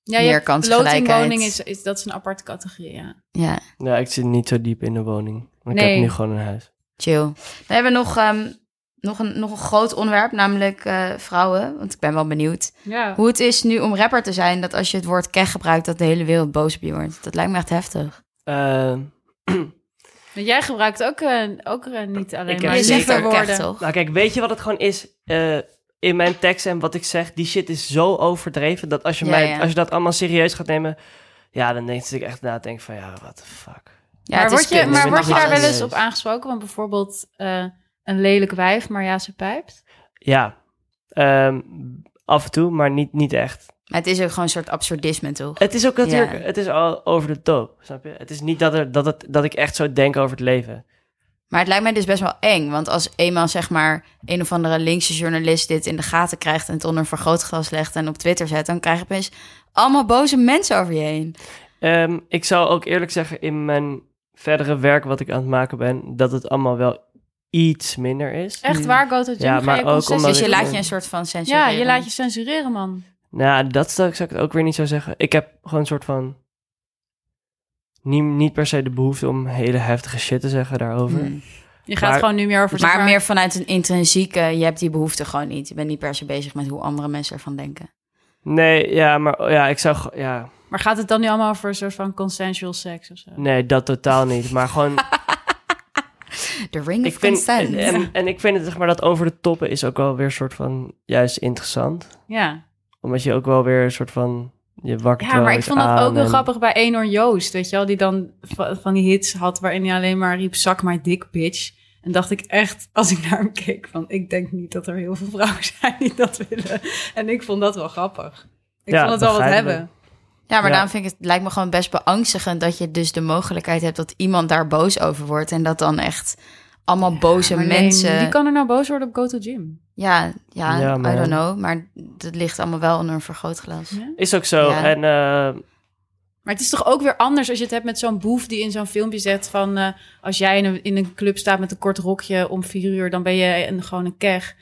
S2: Ja,
S3: Meer
S2: hebt-
S3: kansgelijkheid.
S2: lotingwoning is, is, dat is een aparte categorie, ja.
S3: ja,
S4: Ja, ik zit niet zo diep in de woning. Ik
S2: Nee.
S4: heb nu gewoon een huis.
S3: chill. We hebben nog, ehm, nog, een, nog een groot onderwerp, namelijk eh, vrouwen. Want ik ben wel benieuwd
S2: ja.
S3: hoe het is nu om rapper te zijn. Dat als je het woord keg gebruikt, dat de hele wereld boos op je wordt. Dat lijkt me echt heftig.
S4: Eh,
S2: Want jij gebruikt ook, eh, ook eh, niet alleen
S4: Ik heb
S2: maar
S3: je
S4: zeker
S3: zegt
S2: lieve
S3: ook keg,
S2: woorden.
S3: toch?
S4: nou kijk, weet je wat het gewoon is? Eh, in mijn tekst en wat ik zeg, die shit is zo overdreven dat als je,
S3: Ja,
S4: mij,
S3: ja.
S4: Als je dat allemaal serieus gaat nemen, ja, dan denk ik echt na, denk van ja, what the fuck.
S3: Ja,
S2: maar
S3: het is
S2: word je,
S3: kunst.
S2: maar
S4: Ik
S2: word je
S4: vind
S2: daar
S4: het
S2: wel
S4: alles.
S2: eens op aangesproken? Want bijvoorbeeld eh, een lelijk wijf, maar ja, ze pijpt.
S4: Ja, Ehm, af en toe, maar niet, niet echt.
S3: Maar het is ook gewoon een soort absurdisme, toch?
S4: Het is ook natuurlijk,
S3: Ja.
S4: het is al over de top, snap je? Het is niet dat, er, dat, het, dat ik echt zo denk over het leven.
S3: Maar het lijkt mij dus best wel eng. Want als eenmaal zeg maar een of andere linkse journalist dit in de gaten krijgt... en het onder een vergrootglas legt en op Twitter zet... dan krijg je opeens allemaal boze mensen over je heen.
S4: Ehm, ik zou ook eerlijk zeggen, in mijn verdere werk wat ik aan het maken ben, dat het allemaal wel iets minder is. Hmm.
S2: Echt
S3: Ja.
S2: waar, go to gym?
S4: Ja,
S2: Ga
S4: maar
S2: je
S4: ook
S2: concessies-
S4: omdat
S3: Mm. Dus je
S4: ik-
S3: laat je een soort van censureren.
S2: Ja, je laat je censureren, man.
S4: Nou, dat zou ik, zou ik het ook weer niet zo zeggen. Ik heb gewoon een soort van. Niet, niet per se de behoefte om hele heftige shit te zeggen daarover.
S2: Hmm.
S3: Mm.
S2: Je gaat
S4: Maar-
S2: gewoon nu meer over... zeg
S3: Maar meer vanuit een intrinsieke... je hebt die behoefte gewoon niet. Je bent niet per se bezig met hoe andere mensen ervan denken.
S4: Nee, ja, maar ja, ik zou. ge- Ja,
S2: Maar gaat het dan nu allemaal over een soort van consensual seks of zo?
S4: nee, dat totaal niet. Maar gewoon.
S3: The Ring of
S4: Ik vind,
S3: Consent.
S4: en, en ik vind het, zeg maar, dat over de toppen is ook wel weer een soort van juist interessant.
S2: Ja,
S4: Omdat je ook wel weer een soort van, je wakker
S2: ja maar ik vond dat ook heel grappig bij Enor Joost, weet je wel. Die dan va- van die hits had waarin hij alleen maar riep, zak maar dik, bitch. En dacht ik echt, als ik naar hem keek, van ik denk niet dat er heel veel vrouwen [LAUGHS] zijn die dat willen. En ik vond dat wel grappig. Ik
S4: Ja,
S2: vond het wel wat
S4: begrijpelijk.
S2: hebben.
S3: Ja, maar
S4: Ja.
S3: daarom vind ik het lijkt me gewoon best beangstigend dat je dus de mogelijkheid hebt dat iemand daar boos over wordt en dat dan echt allemaal boze
S2: Maar nee,
S3: mensen.
S2: Wie kan er nou boos worden op GoToGym?
S3: Ja, ja,
S4: Ja, maar-
S3: I don't know, maar dat ligt allemaal wel onder een vergrootglas.
S2: Ja.
S4: Is ook zo.
S3: Ja.
S4: En eh,
S2: Maar het is toch ook weer anders als je het hebt met zo'n boef die in zo'n filmpje zegt van... eh, als jij in een, in een club staat met een kort rokje om vier uur, dan ben je een, gewoon een keg.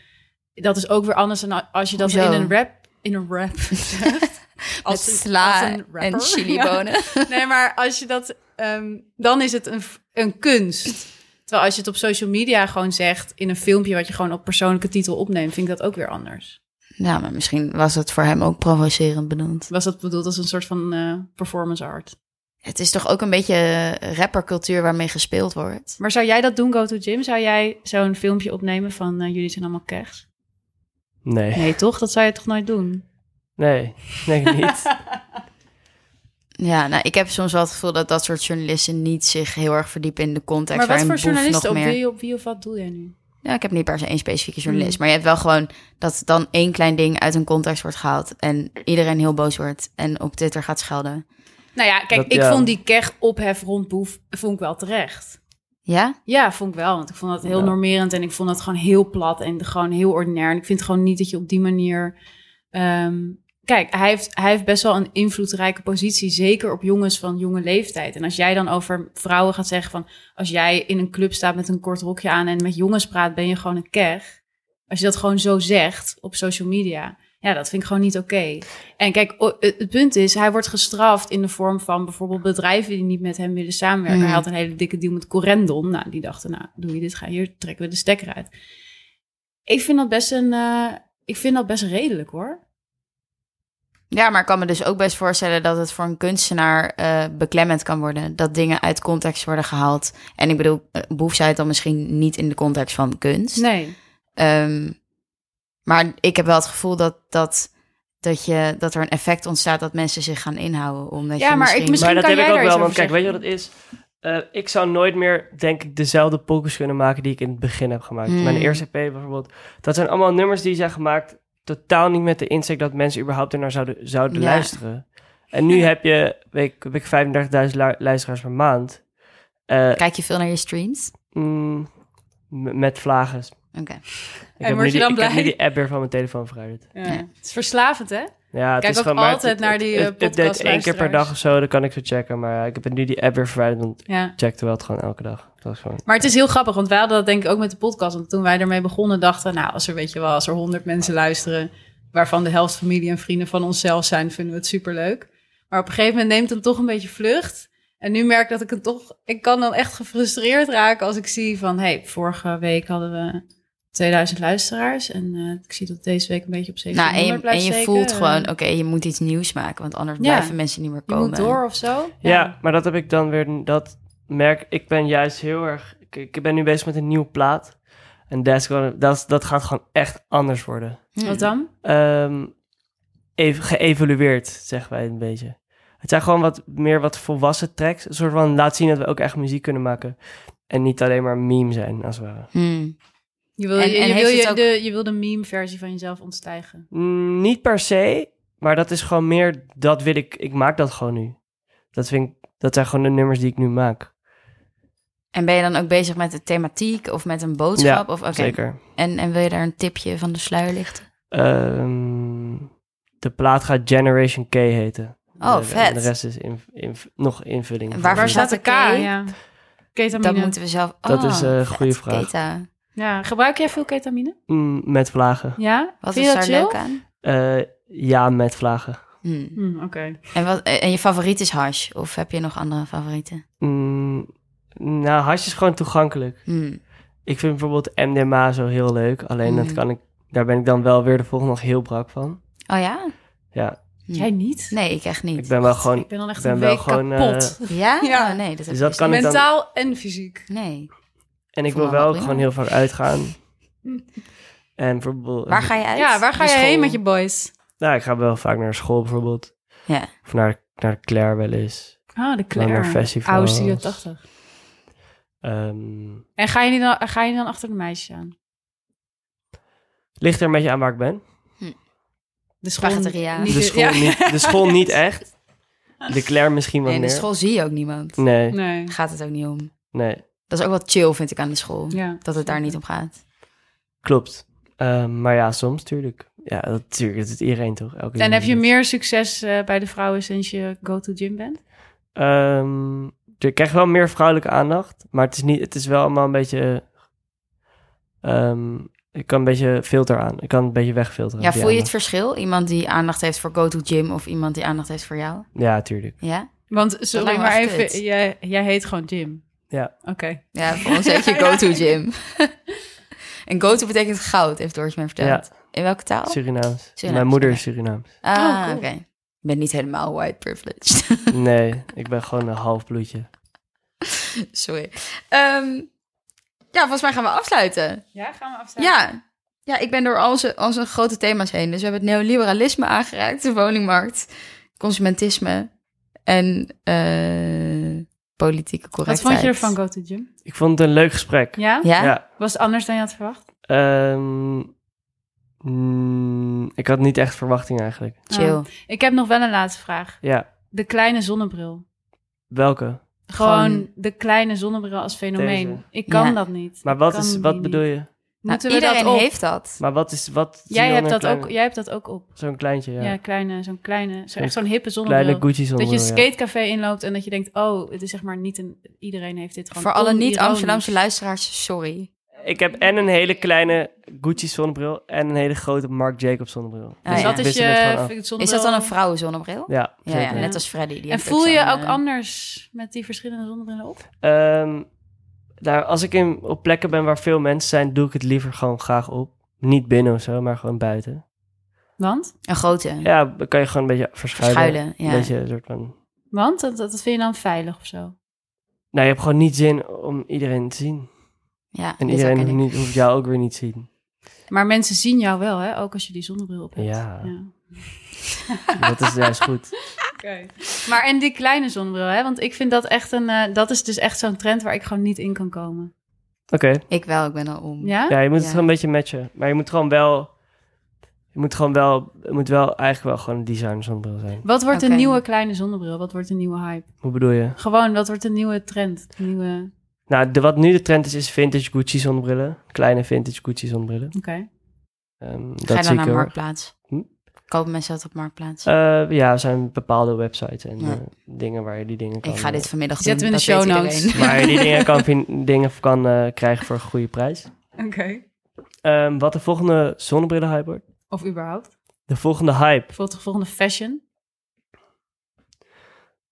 S2: Dat is ook weer anders dan als je dat
S3: Hoezo?
S2: in een rap, in een
S3: [LAUGHS]
S2: rap zegt.
S3: Met
S2: een-
S3: sla
S2: als een [LAUGHS] rapper.
S3: en chilibonen.
S2: Ja. Nee, maar als je dat... ehm, dan is het een, f- een kunst. Terwijl als je het op social media gewoon zegt in een filmpje... wat je gewoon op persoonlijke titel opneemt, vind ik dat ook weer anders.
S3: Ja, maar misschien was het voor hem ook provocerend bedoeld.
S2: Was dat bedoeld als een soort van eh, performance art?
S3: Het is toch ook een beetje eh, rappercultuur waarmee gespeeld wordt.
S2: Maar zou jij dat doen, GoToGym? Zou jij zo'n filmpje opnemen van eh, jullie zijn allemaal kegs?
S4: nee,
S2: Nee, toch? Dat zou je toch nooit doen?
S4: nee, denk ik
S2: [LAUGHS]
S4: niet.
S3: Ja, nou, ik heb soms wel het gevoel dat dat soort journalisten niet zich heel erg verdiepen in de context.
S2: maar wat
S3: waarin
S2: voor
S3: Boef nog
S2: journalisten? Op Hmm.
S3: meer...
S2: wie, op wie of wat doe jij nu?
S3: Ja, ik heb niet per se één specifieke journalist. Maar je hebt wel gewoon dat dan één klein ding uit een context wordt gehaald. En iedereen heel boos wordt. En op Twitter gaat schelden.
S2: Nou ja, kijk,
S4: Dat-
S2: ik
S4: ja.
S2: vond die keg ophef rond Boef vond ik wel terecht.
S3: Ja?
S2: Ja, vond ik wel. Want ik vond dat heel
S4: Ja.
S2: normerend en ik vond dat gewoon heel plat en gewoon heel ordinair. En ik vind gewoon niet dat je op die manier... ehm, kijk, hij heeft, hij heeft best wel een invloedrijke positie, zeker op jongens van jonge leeftijd. En als jij dan over vrouwen gaat zeggen van... als jij in een club staat met een kort rokje aan en met jongens praat, ben je gewoon een keg. Als je dat gewoon zo zegt op social media, ja, dat vind ik gewoon niet oké. En kijk, o- het het punt is, hij wordt gestraft in de vorm van bijvoorbeeld bedrijven die niet met hem willen samenwerken.
S3: Mm.
S2: Hij had een hele dikke deal met Corendon. Nou, die dachten, nou, doe je dit, ga hier trekken we de stekker uit. Ik vind dat best een, eh, ik vind dat best redelijk hoor.
S3: Ja, maar ik kan me dus ook best voorstellen dat het voor een kunstenaar eh, beklemmend kan worden. Dat dingen uit context worden gehaald. En ik bedoel, eh, Boef zei het dan misschien niet in de context van kunst.
S2: Nee.
S3: Ehm, maar ik heb wel het gevoel dat, dat, dat, je, dat er een effect ontstaat dat mensen zich gaan inhouden. Omdat
S2: Ja,
S3: je
S2: maar ik
S3: misschien...
S2: misschien-
S4: maar
S2: kan
S4: dat heb
S2: jij
S4: ik
S2: daar
S4: ook
S2: iets
S4: wel,
S2: over
S4: want kijk, weet je
S2: zeggen.
S4: wat het is? Eh, ik zou nooit meer, denk ik, dezelfde pokus kunnen maken die ik in het begin heb gemaakt.
S3: Hmm.
S4: Mijn eerste EP bijvoorbeeld. Dat zijn allemaal nummers die zijn gemaakt totaal niet met de insteek dat mensen überhaupt ernaar zouden, zouden
S3: Ja.
S4: luisteren. En nu heb je, weet ik, heb ik 35.000 lu- luisteraars per maand. Eh,
S3: Kijk je veel naar je streams?
S4: mm, m- met vlagen. Ik
S3: Oké.
S2: word
S4: nu
S2: je
S4: die,
S2: dan
S4: ik heb
S2: blij?
S4: nu die app weer van mijn telefoon verwijderd.
S2: Ja. Het is verslavend, hè?
S4: Ja, het
S2: Kijk
S4: is
S2: ook
S4: gewoon, maar het-
S2: altijd
S4: het-
S2: naar die, eh,
S4: het update één keer per
S2: podcastluisteraars.
S4: dag of zo, dan kan ik zo checken. Maar eh, ik heb nu die app weer verwijderd, want
S2: Ja.
S4: ik checkte wel het gewoon elke dag. Dat is gewoon...
S2: Maar het is heel grappig, want wij hadden dat denk ik ook met de podcast. Want toen wij ermee begonnen dachten, nou, als er, weet je wel, als er honderd mensen luisteren... waarvan de helft familie en vrienden van onszelf zijn, vinden we het superleuk. Maar op een gegeven moment neemt het toch een beetje vlucht. En nu merk ik dat ik het toch... Ik kan dan echt gefrustreerd raken als ik zie van... hé, hey, vorige week hadden we 2000 luisteraars... en eh, ik zie dat deze week een beetje op
S3: Nou,
S2: 700
S3: en je,
S2: blijft
S3: en je
S2: steken.
S3: voelt gewoon, oké,
S2: Eh,
S3: je moet iets nieuws maken, want anders
S2: Ja.
S3: blijven mensen niet meer
S2: Je
S3: komen.
S2: moet door of zo.
S4: Ja. maar dat heb ik dan weer. Dat merk ik. Ben juist heel erg. Ik, ik ben nu bezig met een nieuwe plaat. En that's gonna- dat, dat gaat gewoon echt anders worden.
S3: Hm.
S2: Wat dan?
S4: Ehm even geëvolueerd, zeggen wij een beetje. Het zijn gewoon wat meer wat volwassen tracks. Een soort van laat zien dat we ook echt muziek kunnen maken. En niet alleen maar meme zijn, als het ware.
S3: Hm.
S2: Je wil,
S3: En-
S2: je,
S3: en
S2: je
S3: heeft
S2: wil,
S3: het
S2: je,
S3: ook-
S2: de, je wil de meme-versie van jezelf ontstijgen.
S4: Mm, niet per se, maar dat is gewoon meer. Dat wil ik. Ik maak dat gewoon nu. Dat, vind ik, dat zijn gewoon de nummers die ik nu maak.
S3: En ben je dan ook bezig met de thematiek of met een boodschap? of, oké.
S4: Zeker.
S3: En, en wil je daar een tipje van de sluier lichten?
S4: Ehm, de plaat gaat Generation K heten.
S3: Oh,
S4: En de-
S3: vet.
S4: en De rest is inv- inv- nog invulling.
S3: En waar-
S4: Voor-
S2: Waar staat de K?
S3: K?
S2: Ja.
S3: Dat
S2: Ketamine.
S3: moeten we zelf...
S4: Dat
S3: Oh,
S4: is, eh, een
S3: vet,
S4: goede vraag.
S3: Keta.
S2: Ja, gebruik jij veel ketamine?
S4: Mm, met vlagen.
S2: Ja?
S3: Wat
S2: Vind
S3: is
S2: je
S3: daar
S2: dat
S3: leuk
S2: chill?
S3: aan?
S4: Eh, ja, met vlagen.
S3: Hm.
S2: Hm, Oké.
S3: En, wat, eh, en je favoriet is hash? Of heb je nog andere favorieten?
S4: Mm, nou, hash is gewoon toegankelijk.
S3: Hm.
S4: Ik vind bijvoorbeeld MDMA zo heel leuk. Alleen dat
S3: Mm.
S4: kan ik, daar ben ik dan wel weer de volgende nog heel brak van.
S3: Oh ja?
S4: Ja,
S3: Hm.
S2: Jij niet?
S3: Nee, ik echt niet.
S4: ik ben wel gewoon...
S2: Ik ben dan echt
S4: ben
S2: een
S4: wel
S3: eh,
S2: week
S4: gewoon,
S2: kapot.
S3: Ja?
S2: [LAUGHS] Ja.
S3: Oh, nee, dat heb
S4: Dus
S3: ik
S4: dat
S3: dus
S4: kan ik
S3: niet.
S4: dan-
S2: Mentaal en fysiek.
S3: Nee.
S4: En ik
S3: Voel me wel
S4: wil wel ook
S3: prima.
S4: gewoon heel vaak
S3: [LAUGHS]
S4: uitgaan. en bijvoorbeeld...
S3: Waar ga je uit? Ah,
S2: Ja, waar ga
S3: Naar
S2: je heen
S3: school?
S2: met je boys?
S4: Nou, ik ga wel vaak naar school bijvoorbeeld.
S3: Ja.
S4: Of naar, naar Claire wel eens.
S2: Oh, de
S4: Claire. naar
S2: Claire.
S4: festivals.
S2: Oude Studio 80.
S4: Ehm,
S2: En ga je, niet dan, ga je dan achter de meisjes aan?
S4: ligt er een beetje aan waar ik ben.
S2: De school
S3: Cafeteria.
S2: niet-
S4: De school,
S2: ja.
S4: niet, de
S2: [LAUGHS]
S4: school niet echt. De Claire misschien wat
S3: Nee, in de
S4: meer.
S3: school zie je ook niemand.
S4: Nee,
S2: Nee.
S3: Gaat het ook niet om.
S4: nee,
S3: Dat is ook wat chill, vind ik, aan de school.
S2: Ja.
S3: Dat het daar niet om gaat.
S4: klopt. Ehm, maar ja, soms tuurlijk. Ja, natuurlijk. Dat is iedereen toch? Elke
S2: En heb je
S4: jongen.
S2: meer succes eh, bij de vrouwen sinds je go-to gym bent?
S4: Ehm, ik krijg wel meer vrouwelijke aandacht, maar het is, niet, het is wel allemaal een beetje... ehm, ik kan een beetje filter aan. Ik kan een beetje wegfilteren.
S3: Ja,
S4: die
S3: voel je het
S4: aandacht.
S3: verschil? Iemand die aandacht heeft voor Go To Gym of iemand die aandacht heeft voor jou?
S4: Ja, tuurlijk.
S3: Ja?
S2: Want,
S3: lijkt
S2: sorry,
S3: me
S2: maar
S3: echt kut.
S2: even, jij, jij heet gewoon Jim.
S4: Ja.
S2: Oké. [LAUGHS]
S3: Ja, voor ons heet je Go To Gym. en Go To betekent goud, heeft Doris mij verteld. In welke taal?
S4: Surinaams.
S3: Oh. Surinaams,
S4: Mijn moeder
S3: oké.
S4: is Surinaams.
S3: Ah,
S2: Oh, cool.
S3: oké. Ik ben niet helemaal white privileged. [LAUGHS]
S4: Nee, ik ben gewoon een half bloedje.
S3: Sorry. Ehm, ja, volgens mij gaan we afsluiten.
S2: Ja, gaan we afsluiten?
S3: Ja. Ja, ik ben door al onze, al onze grote thema's heen. Dus we hebben het neoliberalisme aangeraakt, de woningmarkt, consumentisme en eh, politieke
S2: Wat
S3: correctheid.
S2: vond je ervan, go-to gym?
S4: Ik vond het een leuk gesprek.
S2: Ja?
S3: Ja?
S2: Was het anders dan je had verwacht?
S4: Ehm, mm, ik had niet echt verwachting eigenlijk.
S3: chill. Nou,
S2: Oh. Ik heb nog wel een laatste vraag.
S4: Ja,
S2: De kleine zonnebril.
S4: welke?
S2: Gewoon,
S3: Gewoon-
S2: de kleine zonnebril als fenomeen.
S4: Deze.
S2: Ik kan
S3: Ja.
S2: dat niet.
S4: Maar
S2: Ik
S4: wat,
S2: kan
S4: is,
S2: die
S4: wat
S2: niet.
S4: bedoel je?
S3: Nou,
S2: Moeten we
S3: iedereen
S2: dat op?
S3: heeft dat.
S4: Maar wat is wat? zie
S2: Jij
S4: je
S2: hebt,
S4: dan
S2: dat
S4: een
S2: ook,
S4: kleine-
S2: jij hebt dat ook op.
S4: Zo'n kleintje, ja.
S2: Ja, kleine, zo'n kleine, zo,
S4: Zo'n
S2: echt zo'n hippe zonnebril.
S4: Kleine Gucci
S2: dat
S4: zonnebril.
S2: je een
S4: ja.
S2: skatecafé inloopt en dat je denkt, oh, het is zeg maar niet een... Iedereen heeft dit gewoon
S3: Voor alle
S2: onironisch.
S3: niet-Amsterdamse luisteraars, sorry.
S4: Ik heb en een hele kleine Gucci zonnebril en een hele grote Marc Jacobs zonnebril.
S3: Ah,
S4: Dus
S2: Dus
S3: ja.
S4: ik
S2: dat is
S4: wissel het
S2: je
S4: gewoon af.
S2: zonnebril.
S3: Is dat dan een vrouwenzonnebril?
S4: Ja,
S3: Ja, ja,
S4: zeker.
S3: net als Freddy. die
S2: En
S3: heeft
S2: voel je
S3: zo'n,
S2: ook
S3: eh,
S2: anders met die verschillende zonnebrillen op?
S4: Ehm, nou, als ik in, op plekken ben waar veel mensen zijn, doe ik het liever gewoon graag op. Niet binnen of zo, maar gewoon buiten.
S2: Want?
S3: Een grote.
S4: Ja, dan kan je gewoon een beetje verschuilen.
S3: Verschuilen, ja.
S4: Een beetje een soort van...
S2: Want? Dat, dat vind je dan veilig of zo?
S4: Nou, je hebt gewoon niet zin om iedereen te zien.
S3: Ja,
S4: En
S3: dit
S4: iedereen
S3: herken
S4: hoeft,
S3: ik.
S4: niet, hoeft jou ook weer niet te
S3: [LAUGHS]
S4: zien.
S2: Maar mensen zien jou wel, hè? Ook als je die zonnebril op hebt.
S4: Ja. Dat is juist goed.
S2: Maar en die kleine zonnebril, hè? Want ik vind dat echt een... eh, dat is dus echt zo'n trend waar ik gewoon niet in kan komen.
S4: Oké,
S3: Ik wel, ik ben al om.
S2: Ja?
S4: ja, je moet
S3: Oh, Ja.
S4: het gewoon een beetje matchen. Maar je moet gewoon wel... Je moet gewoon wel... Het moet wel eigenlijk wel gewoon een designer zonnebril zijn.
S2: Wat wordt
S3: Oké.
S2: een nieuwe kleine zonnebril? Wat wordt een nieuwe hype?
S4: Hoe bedoel je?
S2: Gewoon, wat wordt een nieuwe trend? De nieuwe...
S4: Nou, de, wat nu de trend is, is vintage Gucci zonnebrillen. Kleine vintage Gucci zonnebrillen.
S2: Oké.
S4: Ehm,
S3: Ga je
S4: dat
S3: dan
S4: zie
S3: naar
S4: ik heel erg.
S3: Marktplaats?
S4: Hm?
S3: Kopen mensen dat op Marktplaats?
S4: Eh, ja, er zijn bepaalde websites en
S3: Ja.
S4: eh, dingen waar je die dingen kan...
S3: ik ga
S4: eh,
S3: dit vanmiddag
S2: Zetten
S3: doen,
S2: we in de
S3: dat
S2: show
S3: weet
S2: notes.
S3: iedereen.
S4: Waar je die
S3: [LAUGHS]
S4: dingen kan, vin- [LAUGHS] dingen kan eh, krijgen voor een goede prijs.
S2: Oké.
S4: Ehm, wat de volgende zonnebrillenhype wordt?
S2: Of überhaupt?
S4: De volgende hype.
S2: Bijvoorbeeld de volgende fashion?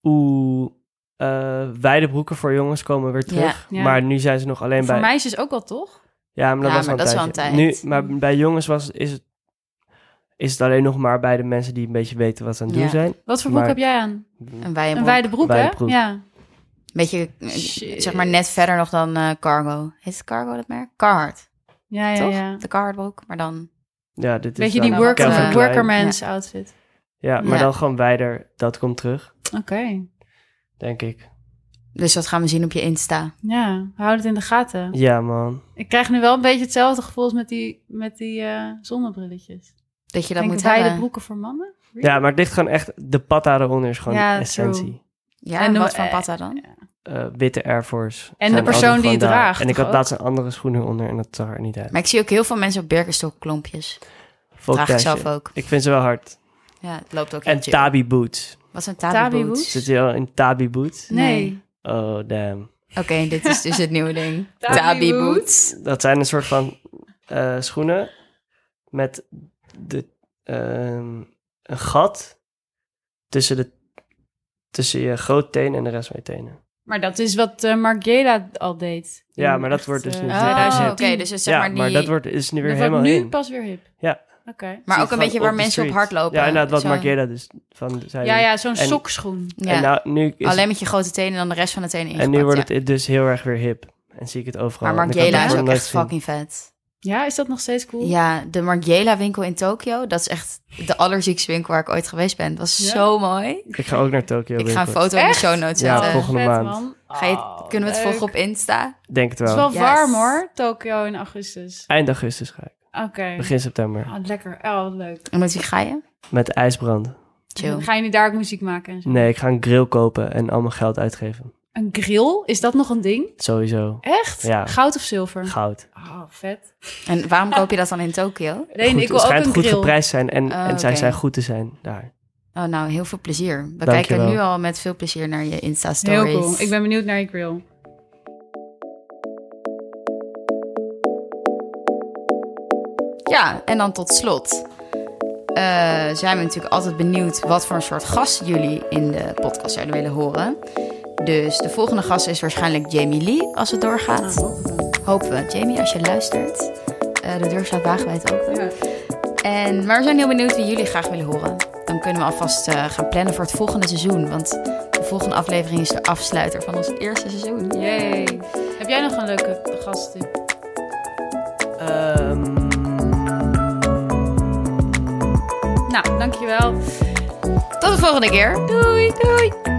S4: Oeh, eh wijde broeken voor jongens komen weer terug.
S2: Ja. Ja.
S4: Maar nu zijn ze nog alleen
S2: Voor
S4: bij...
S2: meisjes ook wel, toch?
S4: Ja, maar dat,
S3: Ja,
S4: was,
S3: maar
S4: al
S3: dat is wel
S4: een
S3: een
S4: tijdje.
S3: tijd.
S4: Nu, maar bij jongens was, is, het, is het alleen nog maar bij de mensen die een beetje weten wat ze aan het
S3: Ja.
S4: doen zijn.
S2: Wat voor broek
S4: Maar-
S2: heb jij aan?
S3: Een wijde
S2: Een
S3: broek.
S2: wijde broek,
S4: Wijde
S2: hè?
S4: broek.
S2: Ja.
S3: Beetje, eh,
S2: Shit.
S3: zeg maar, net verder nog dan eh, Cargo. Heet het Cargo dat merk? Carhartt,
S2: Ja, ja,
S3: toch?
S2: ja.
S3: De Carhartt broek, maar dan...
S4: Ja, dit
S2: Beetje
S4: is
S2: die
S4: dan
S2: work,
S4: Calvin
S2: eh,
S3: Calvin
S4: Klein.
S2: workermans outfit.
S4: Ja, maar
S3: Ja.
S4: dan gewoon wijder. Dat komt terug,
S2: Oké.
S4: denk ik.
S3: Dus dat gaan we zien op je Insta.
S2: Ja, houd het in de gaten.
S4: Ja, man.
S2: Ik krijg nu wel een beetje hetzelfde gevoel als met die, met die eh, zonnebrilletjes.
S3: Dat je dat
S2: Denk
S3: moet
S2: wijde
S3: hebben.
S2: broeken voor mannen?
S4: Ja, maar het ligt gewoon echt... De patta eronder is gewoon
S2: Ja,
S4: de
S2: true.
S4: essentie.
S3: Ja,
S2: En
S3: en
S2: de-
S3: wat van
S2: eh,
S3: Patta dan?
S4: Eh, witte Air Force.
S2: En de
S4: Zijn
S2: persoon
S4: altijd
S2: die het
S4: gewoon daar.
S2: draagt,
S4: En ik
S2: toch
S4: had laatst een andere schoen onder en dat zag er niet uit.
S3: Maar ik zie ook heel veel mensen op Birkenstock klompjes.
S4: Volk
S3: Draag ik
S4: thuisje.
S3: zelf ook.
S4: Ik vind ze wel hard.
S3: Ja, het loopt ook
S4: En
S3: heel chill.
S4: Tabi Boots.
S3: Wat zijn
S2: Tabi
S3: tabi
S2: boots?
S3: boots?
S4: Zit je al in Tabi Boots?
S2: Nee.
S3: Nee.
S4: Oh, damn.
S3: Oké, dit is dus het nieuwe
S2: [LAUGHS]
S3: ding.
S2: Tabi
S3: Tabi
S2: boots.
S3: boots.
S4: Dat zijn een soort van eh, schoenen met de, ehm, een gat tussen, de, tussen je grootteen en de rest van je tenen.
S2: Maar dat is wat eh Margiela al deed.
S4: Ja,
S2: In
S4: maar dat
S2: echt,
S4: wordt dus
S2: eh,
S4: nu
S3: Oh,
S2: 2010.
S3: oké, dus het is zeg
S4: ja,
S3: maar die...
S4: maar dat wordt, is nu weer
S2: Dat
S4: helemaal
S2: wordt nu
S4: in.
S2: pas weer hip.
S4: Ja.
S2: Oké.
S3: Maar
S4: Zie
S3: ook
S4: je
S3: een
S4: van
S3: beetje waar
S4: de
S3: mensen op
S4: street.
S3: hardlopen.
S4: Ja, inderdaad, wat
S3: Zo.
S4: maak jij dat dus? Van, zei
S2: Ja,
S4: je.
S2: ja, zo'n
S4: En-
S2: sokschoen.
S3: Ja.
S4: En, nou, nu is,
S3: Alleen met je grote tenen en dan de rest van de tenen
S4: en
S3: ingepakt.
S4: nu wordt
S3: ja.
S4: het dus heel erg weer hip. En zie ik het overal.
S3: Maar
S4: En ik had
S3: Margiela
S4: het
S3: is
S4: nog
S3: ook
S4: nooit
S3: echt
S4: gezien.
S3: fucking vet.
S2: Ja, is dat nog steeds cool?
S3: Ja, de Margiela winkel in Tokio, dat is echt de allerziekste winkel waar ik ooit geweest ben. Dat was
S2: Ja?
S3: zo mooi.
S4: Ik ga ook naar Tokio.
S3: Ik ga een
S4: binnenkort.
S3: foto in de
S2: Echt?
S3: show notes
S4: Ja,
S3: zetten.
S4: volgende
S2: Vet,
S4: maand.
S2: man.
S3: eh, Ga je,
S2: Oh,
S3: kunnen we het
S2: leuk.
S3: volgen op Insta?
S4: Denk het
S2: Het is
S4: wel.
S2: wel
S3: Yes.
S2: warm hoor, Tokio in augustus.
S4: Eind augustus ga ik.
S2: Oké.
S4: Begin september.
S2: Ah, lekker. Oh, wat leuk.
S3: En met wie ga je?
S4: Met ijsbrand.
S3: Chill.
S2: Ga je nu daar ook muziek maken en zo?
S4: Nee, ik ga een grill kopen en al mijn geld uitgeven.
S2: Een grill? Is dat nog een ding?
S4: Sowieso.
S2: Echt?
S4: Ja.
S2: Goud of zilver?
S4: Goud.
S2: Oh, vet.
S3: En waarom koop je dat dan in Tokio?
S2: Nee,
S4: Goed,
S2: ik wil
S4: het
S2: ook
S4: schijnt
S2: een
S4: goed
S2: grill.
S4: geprijsd zijn en,
S3: Ah,
S4: en zij
S3: oké.
S4: zijn goed te zijn daar.
S3: Oh, nou, heel veel plezier. We
S4: Dank je
S3: kijken
S4: wel.
S3: nu al met veel plezier naar je Insta-stories.
S2: Heel cool. Ik ben benieuwd naar je grill.
S3: Ja, en dan tot slot eh, zijn we natuurlijk altijd benieuwd wat voor een soort gast jullie in de podcast zouden willen horen. Dus de volgende gast is waarschijnlijk Jamie Lee, als het doorgaat.
S2: Ah.
S3: Hopen we. Jamie, als je luistert, eh, de deur staat wagenwijd open.
S2: Ja.
S3: En, maar we zijn heel benieuwd wie jullie graag willen horen. Dan kunnen we alvast eh, gaan plannen voor het volgende seizoen. Want de volgende aflevering is de afsluiter van ons eerste seizoen.
S2: Yay. Heb jij nog een leuke gasttip? Nou, dankjewel. Nou,
S3: Tot de volgende keer.
S2: Doei, doei.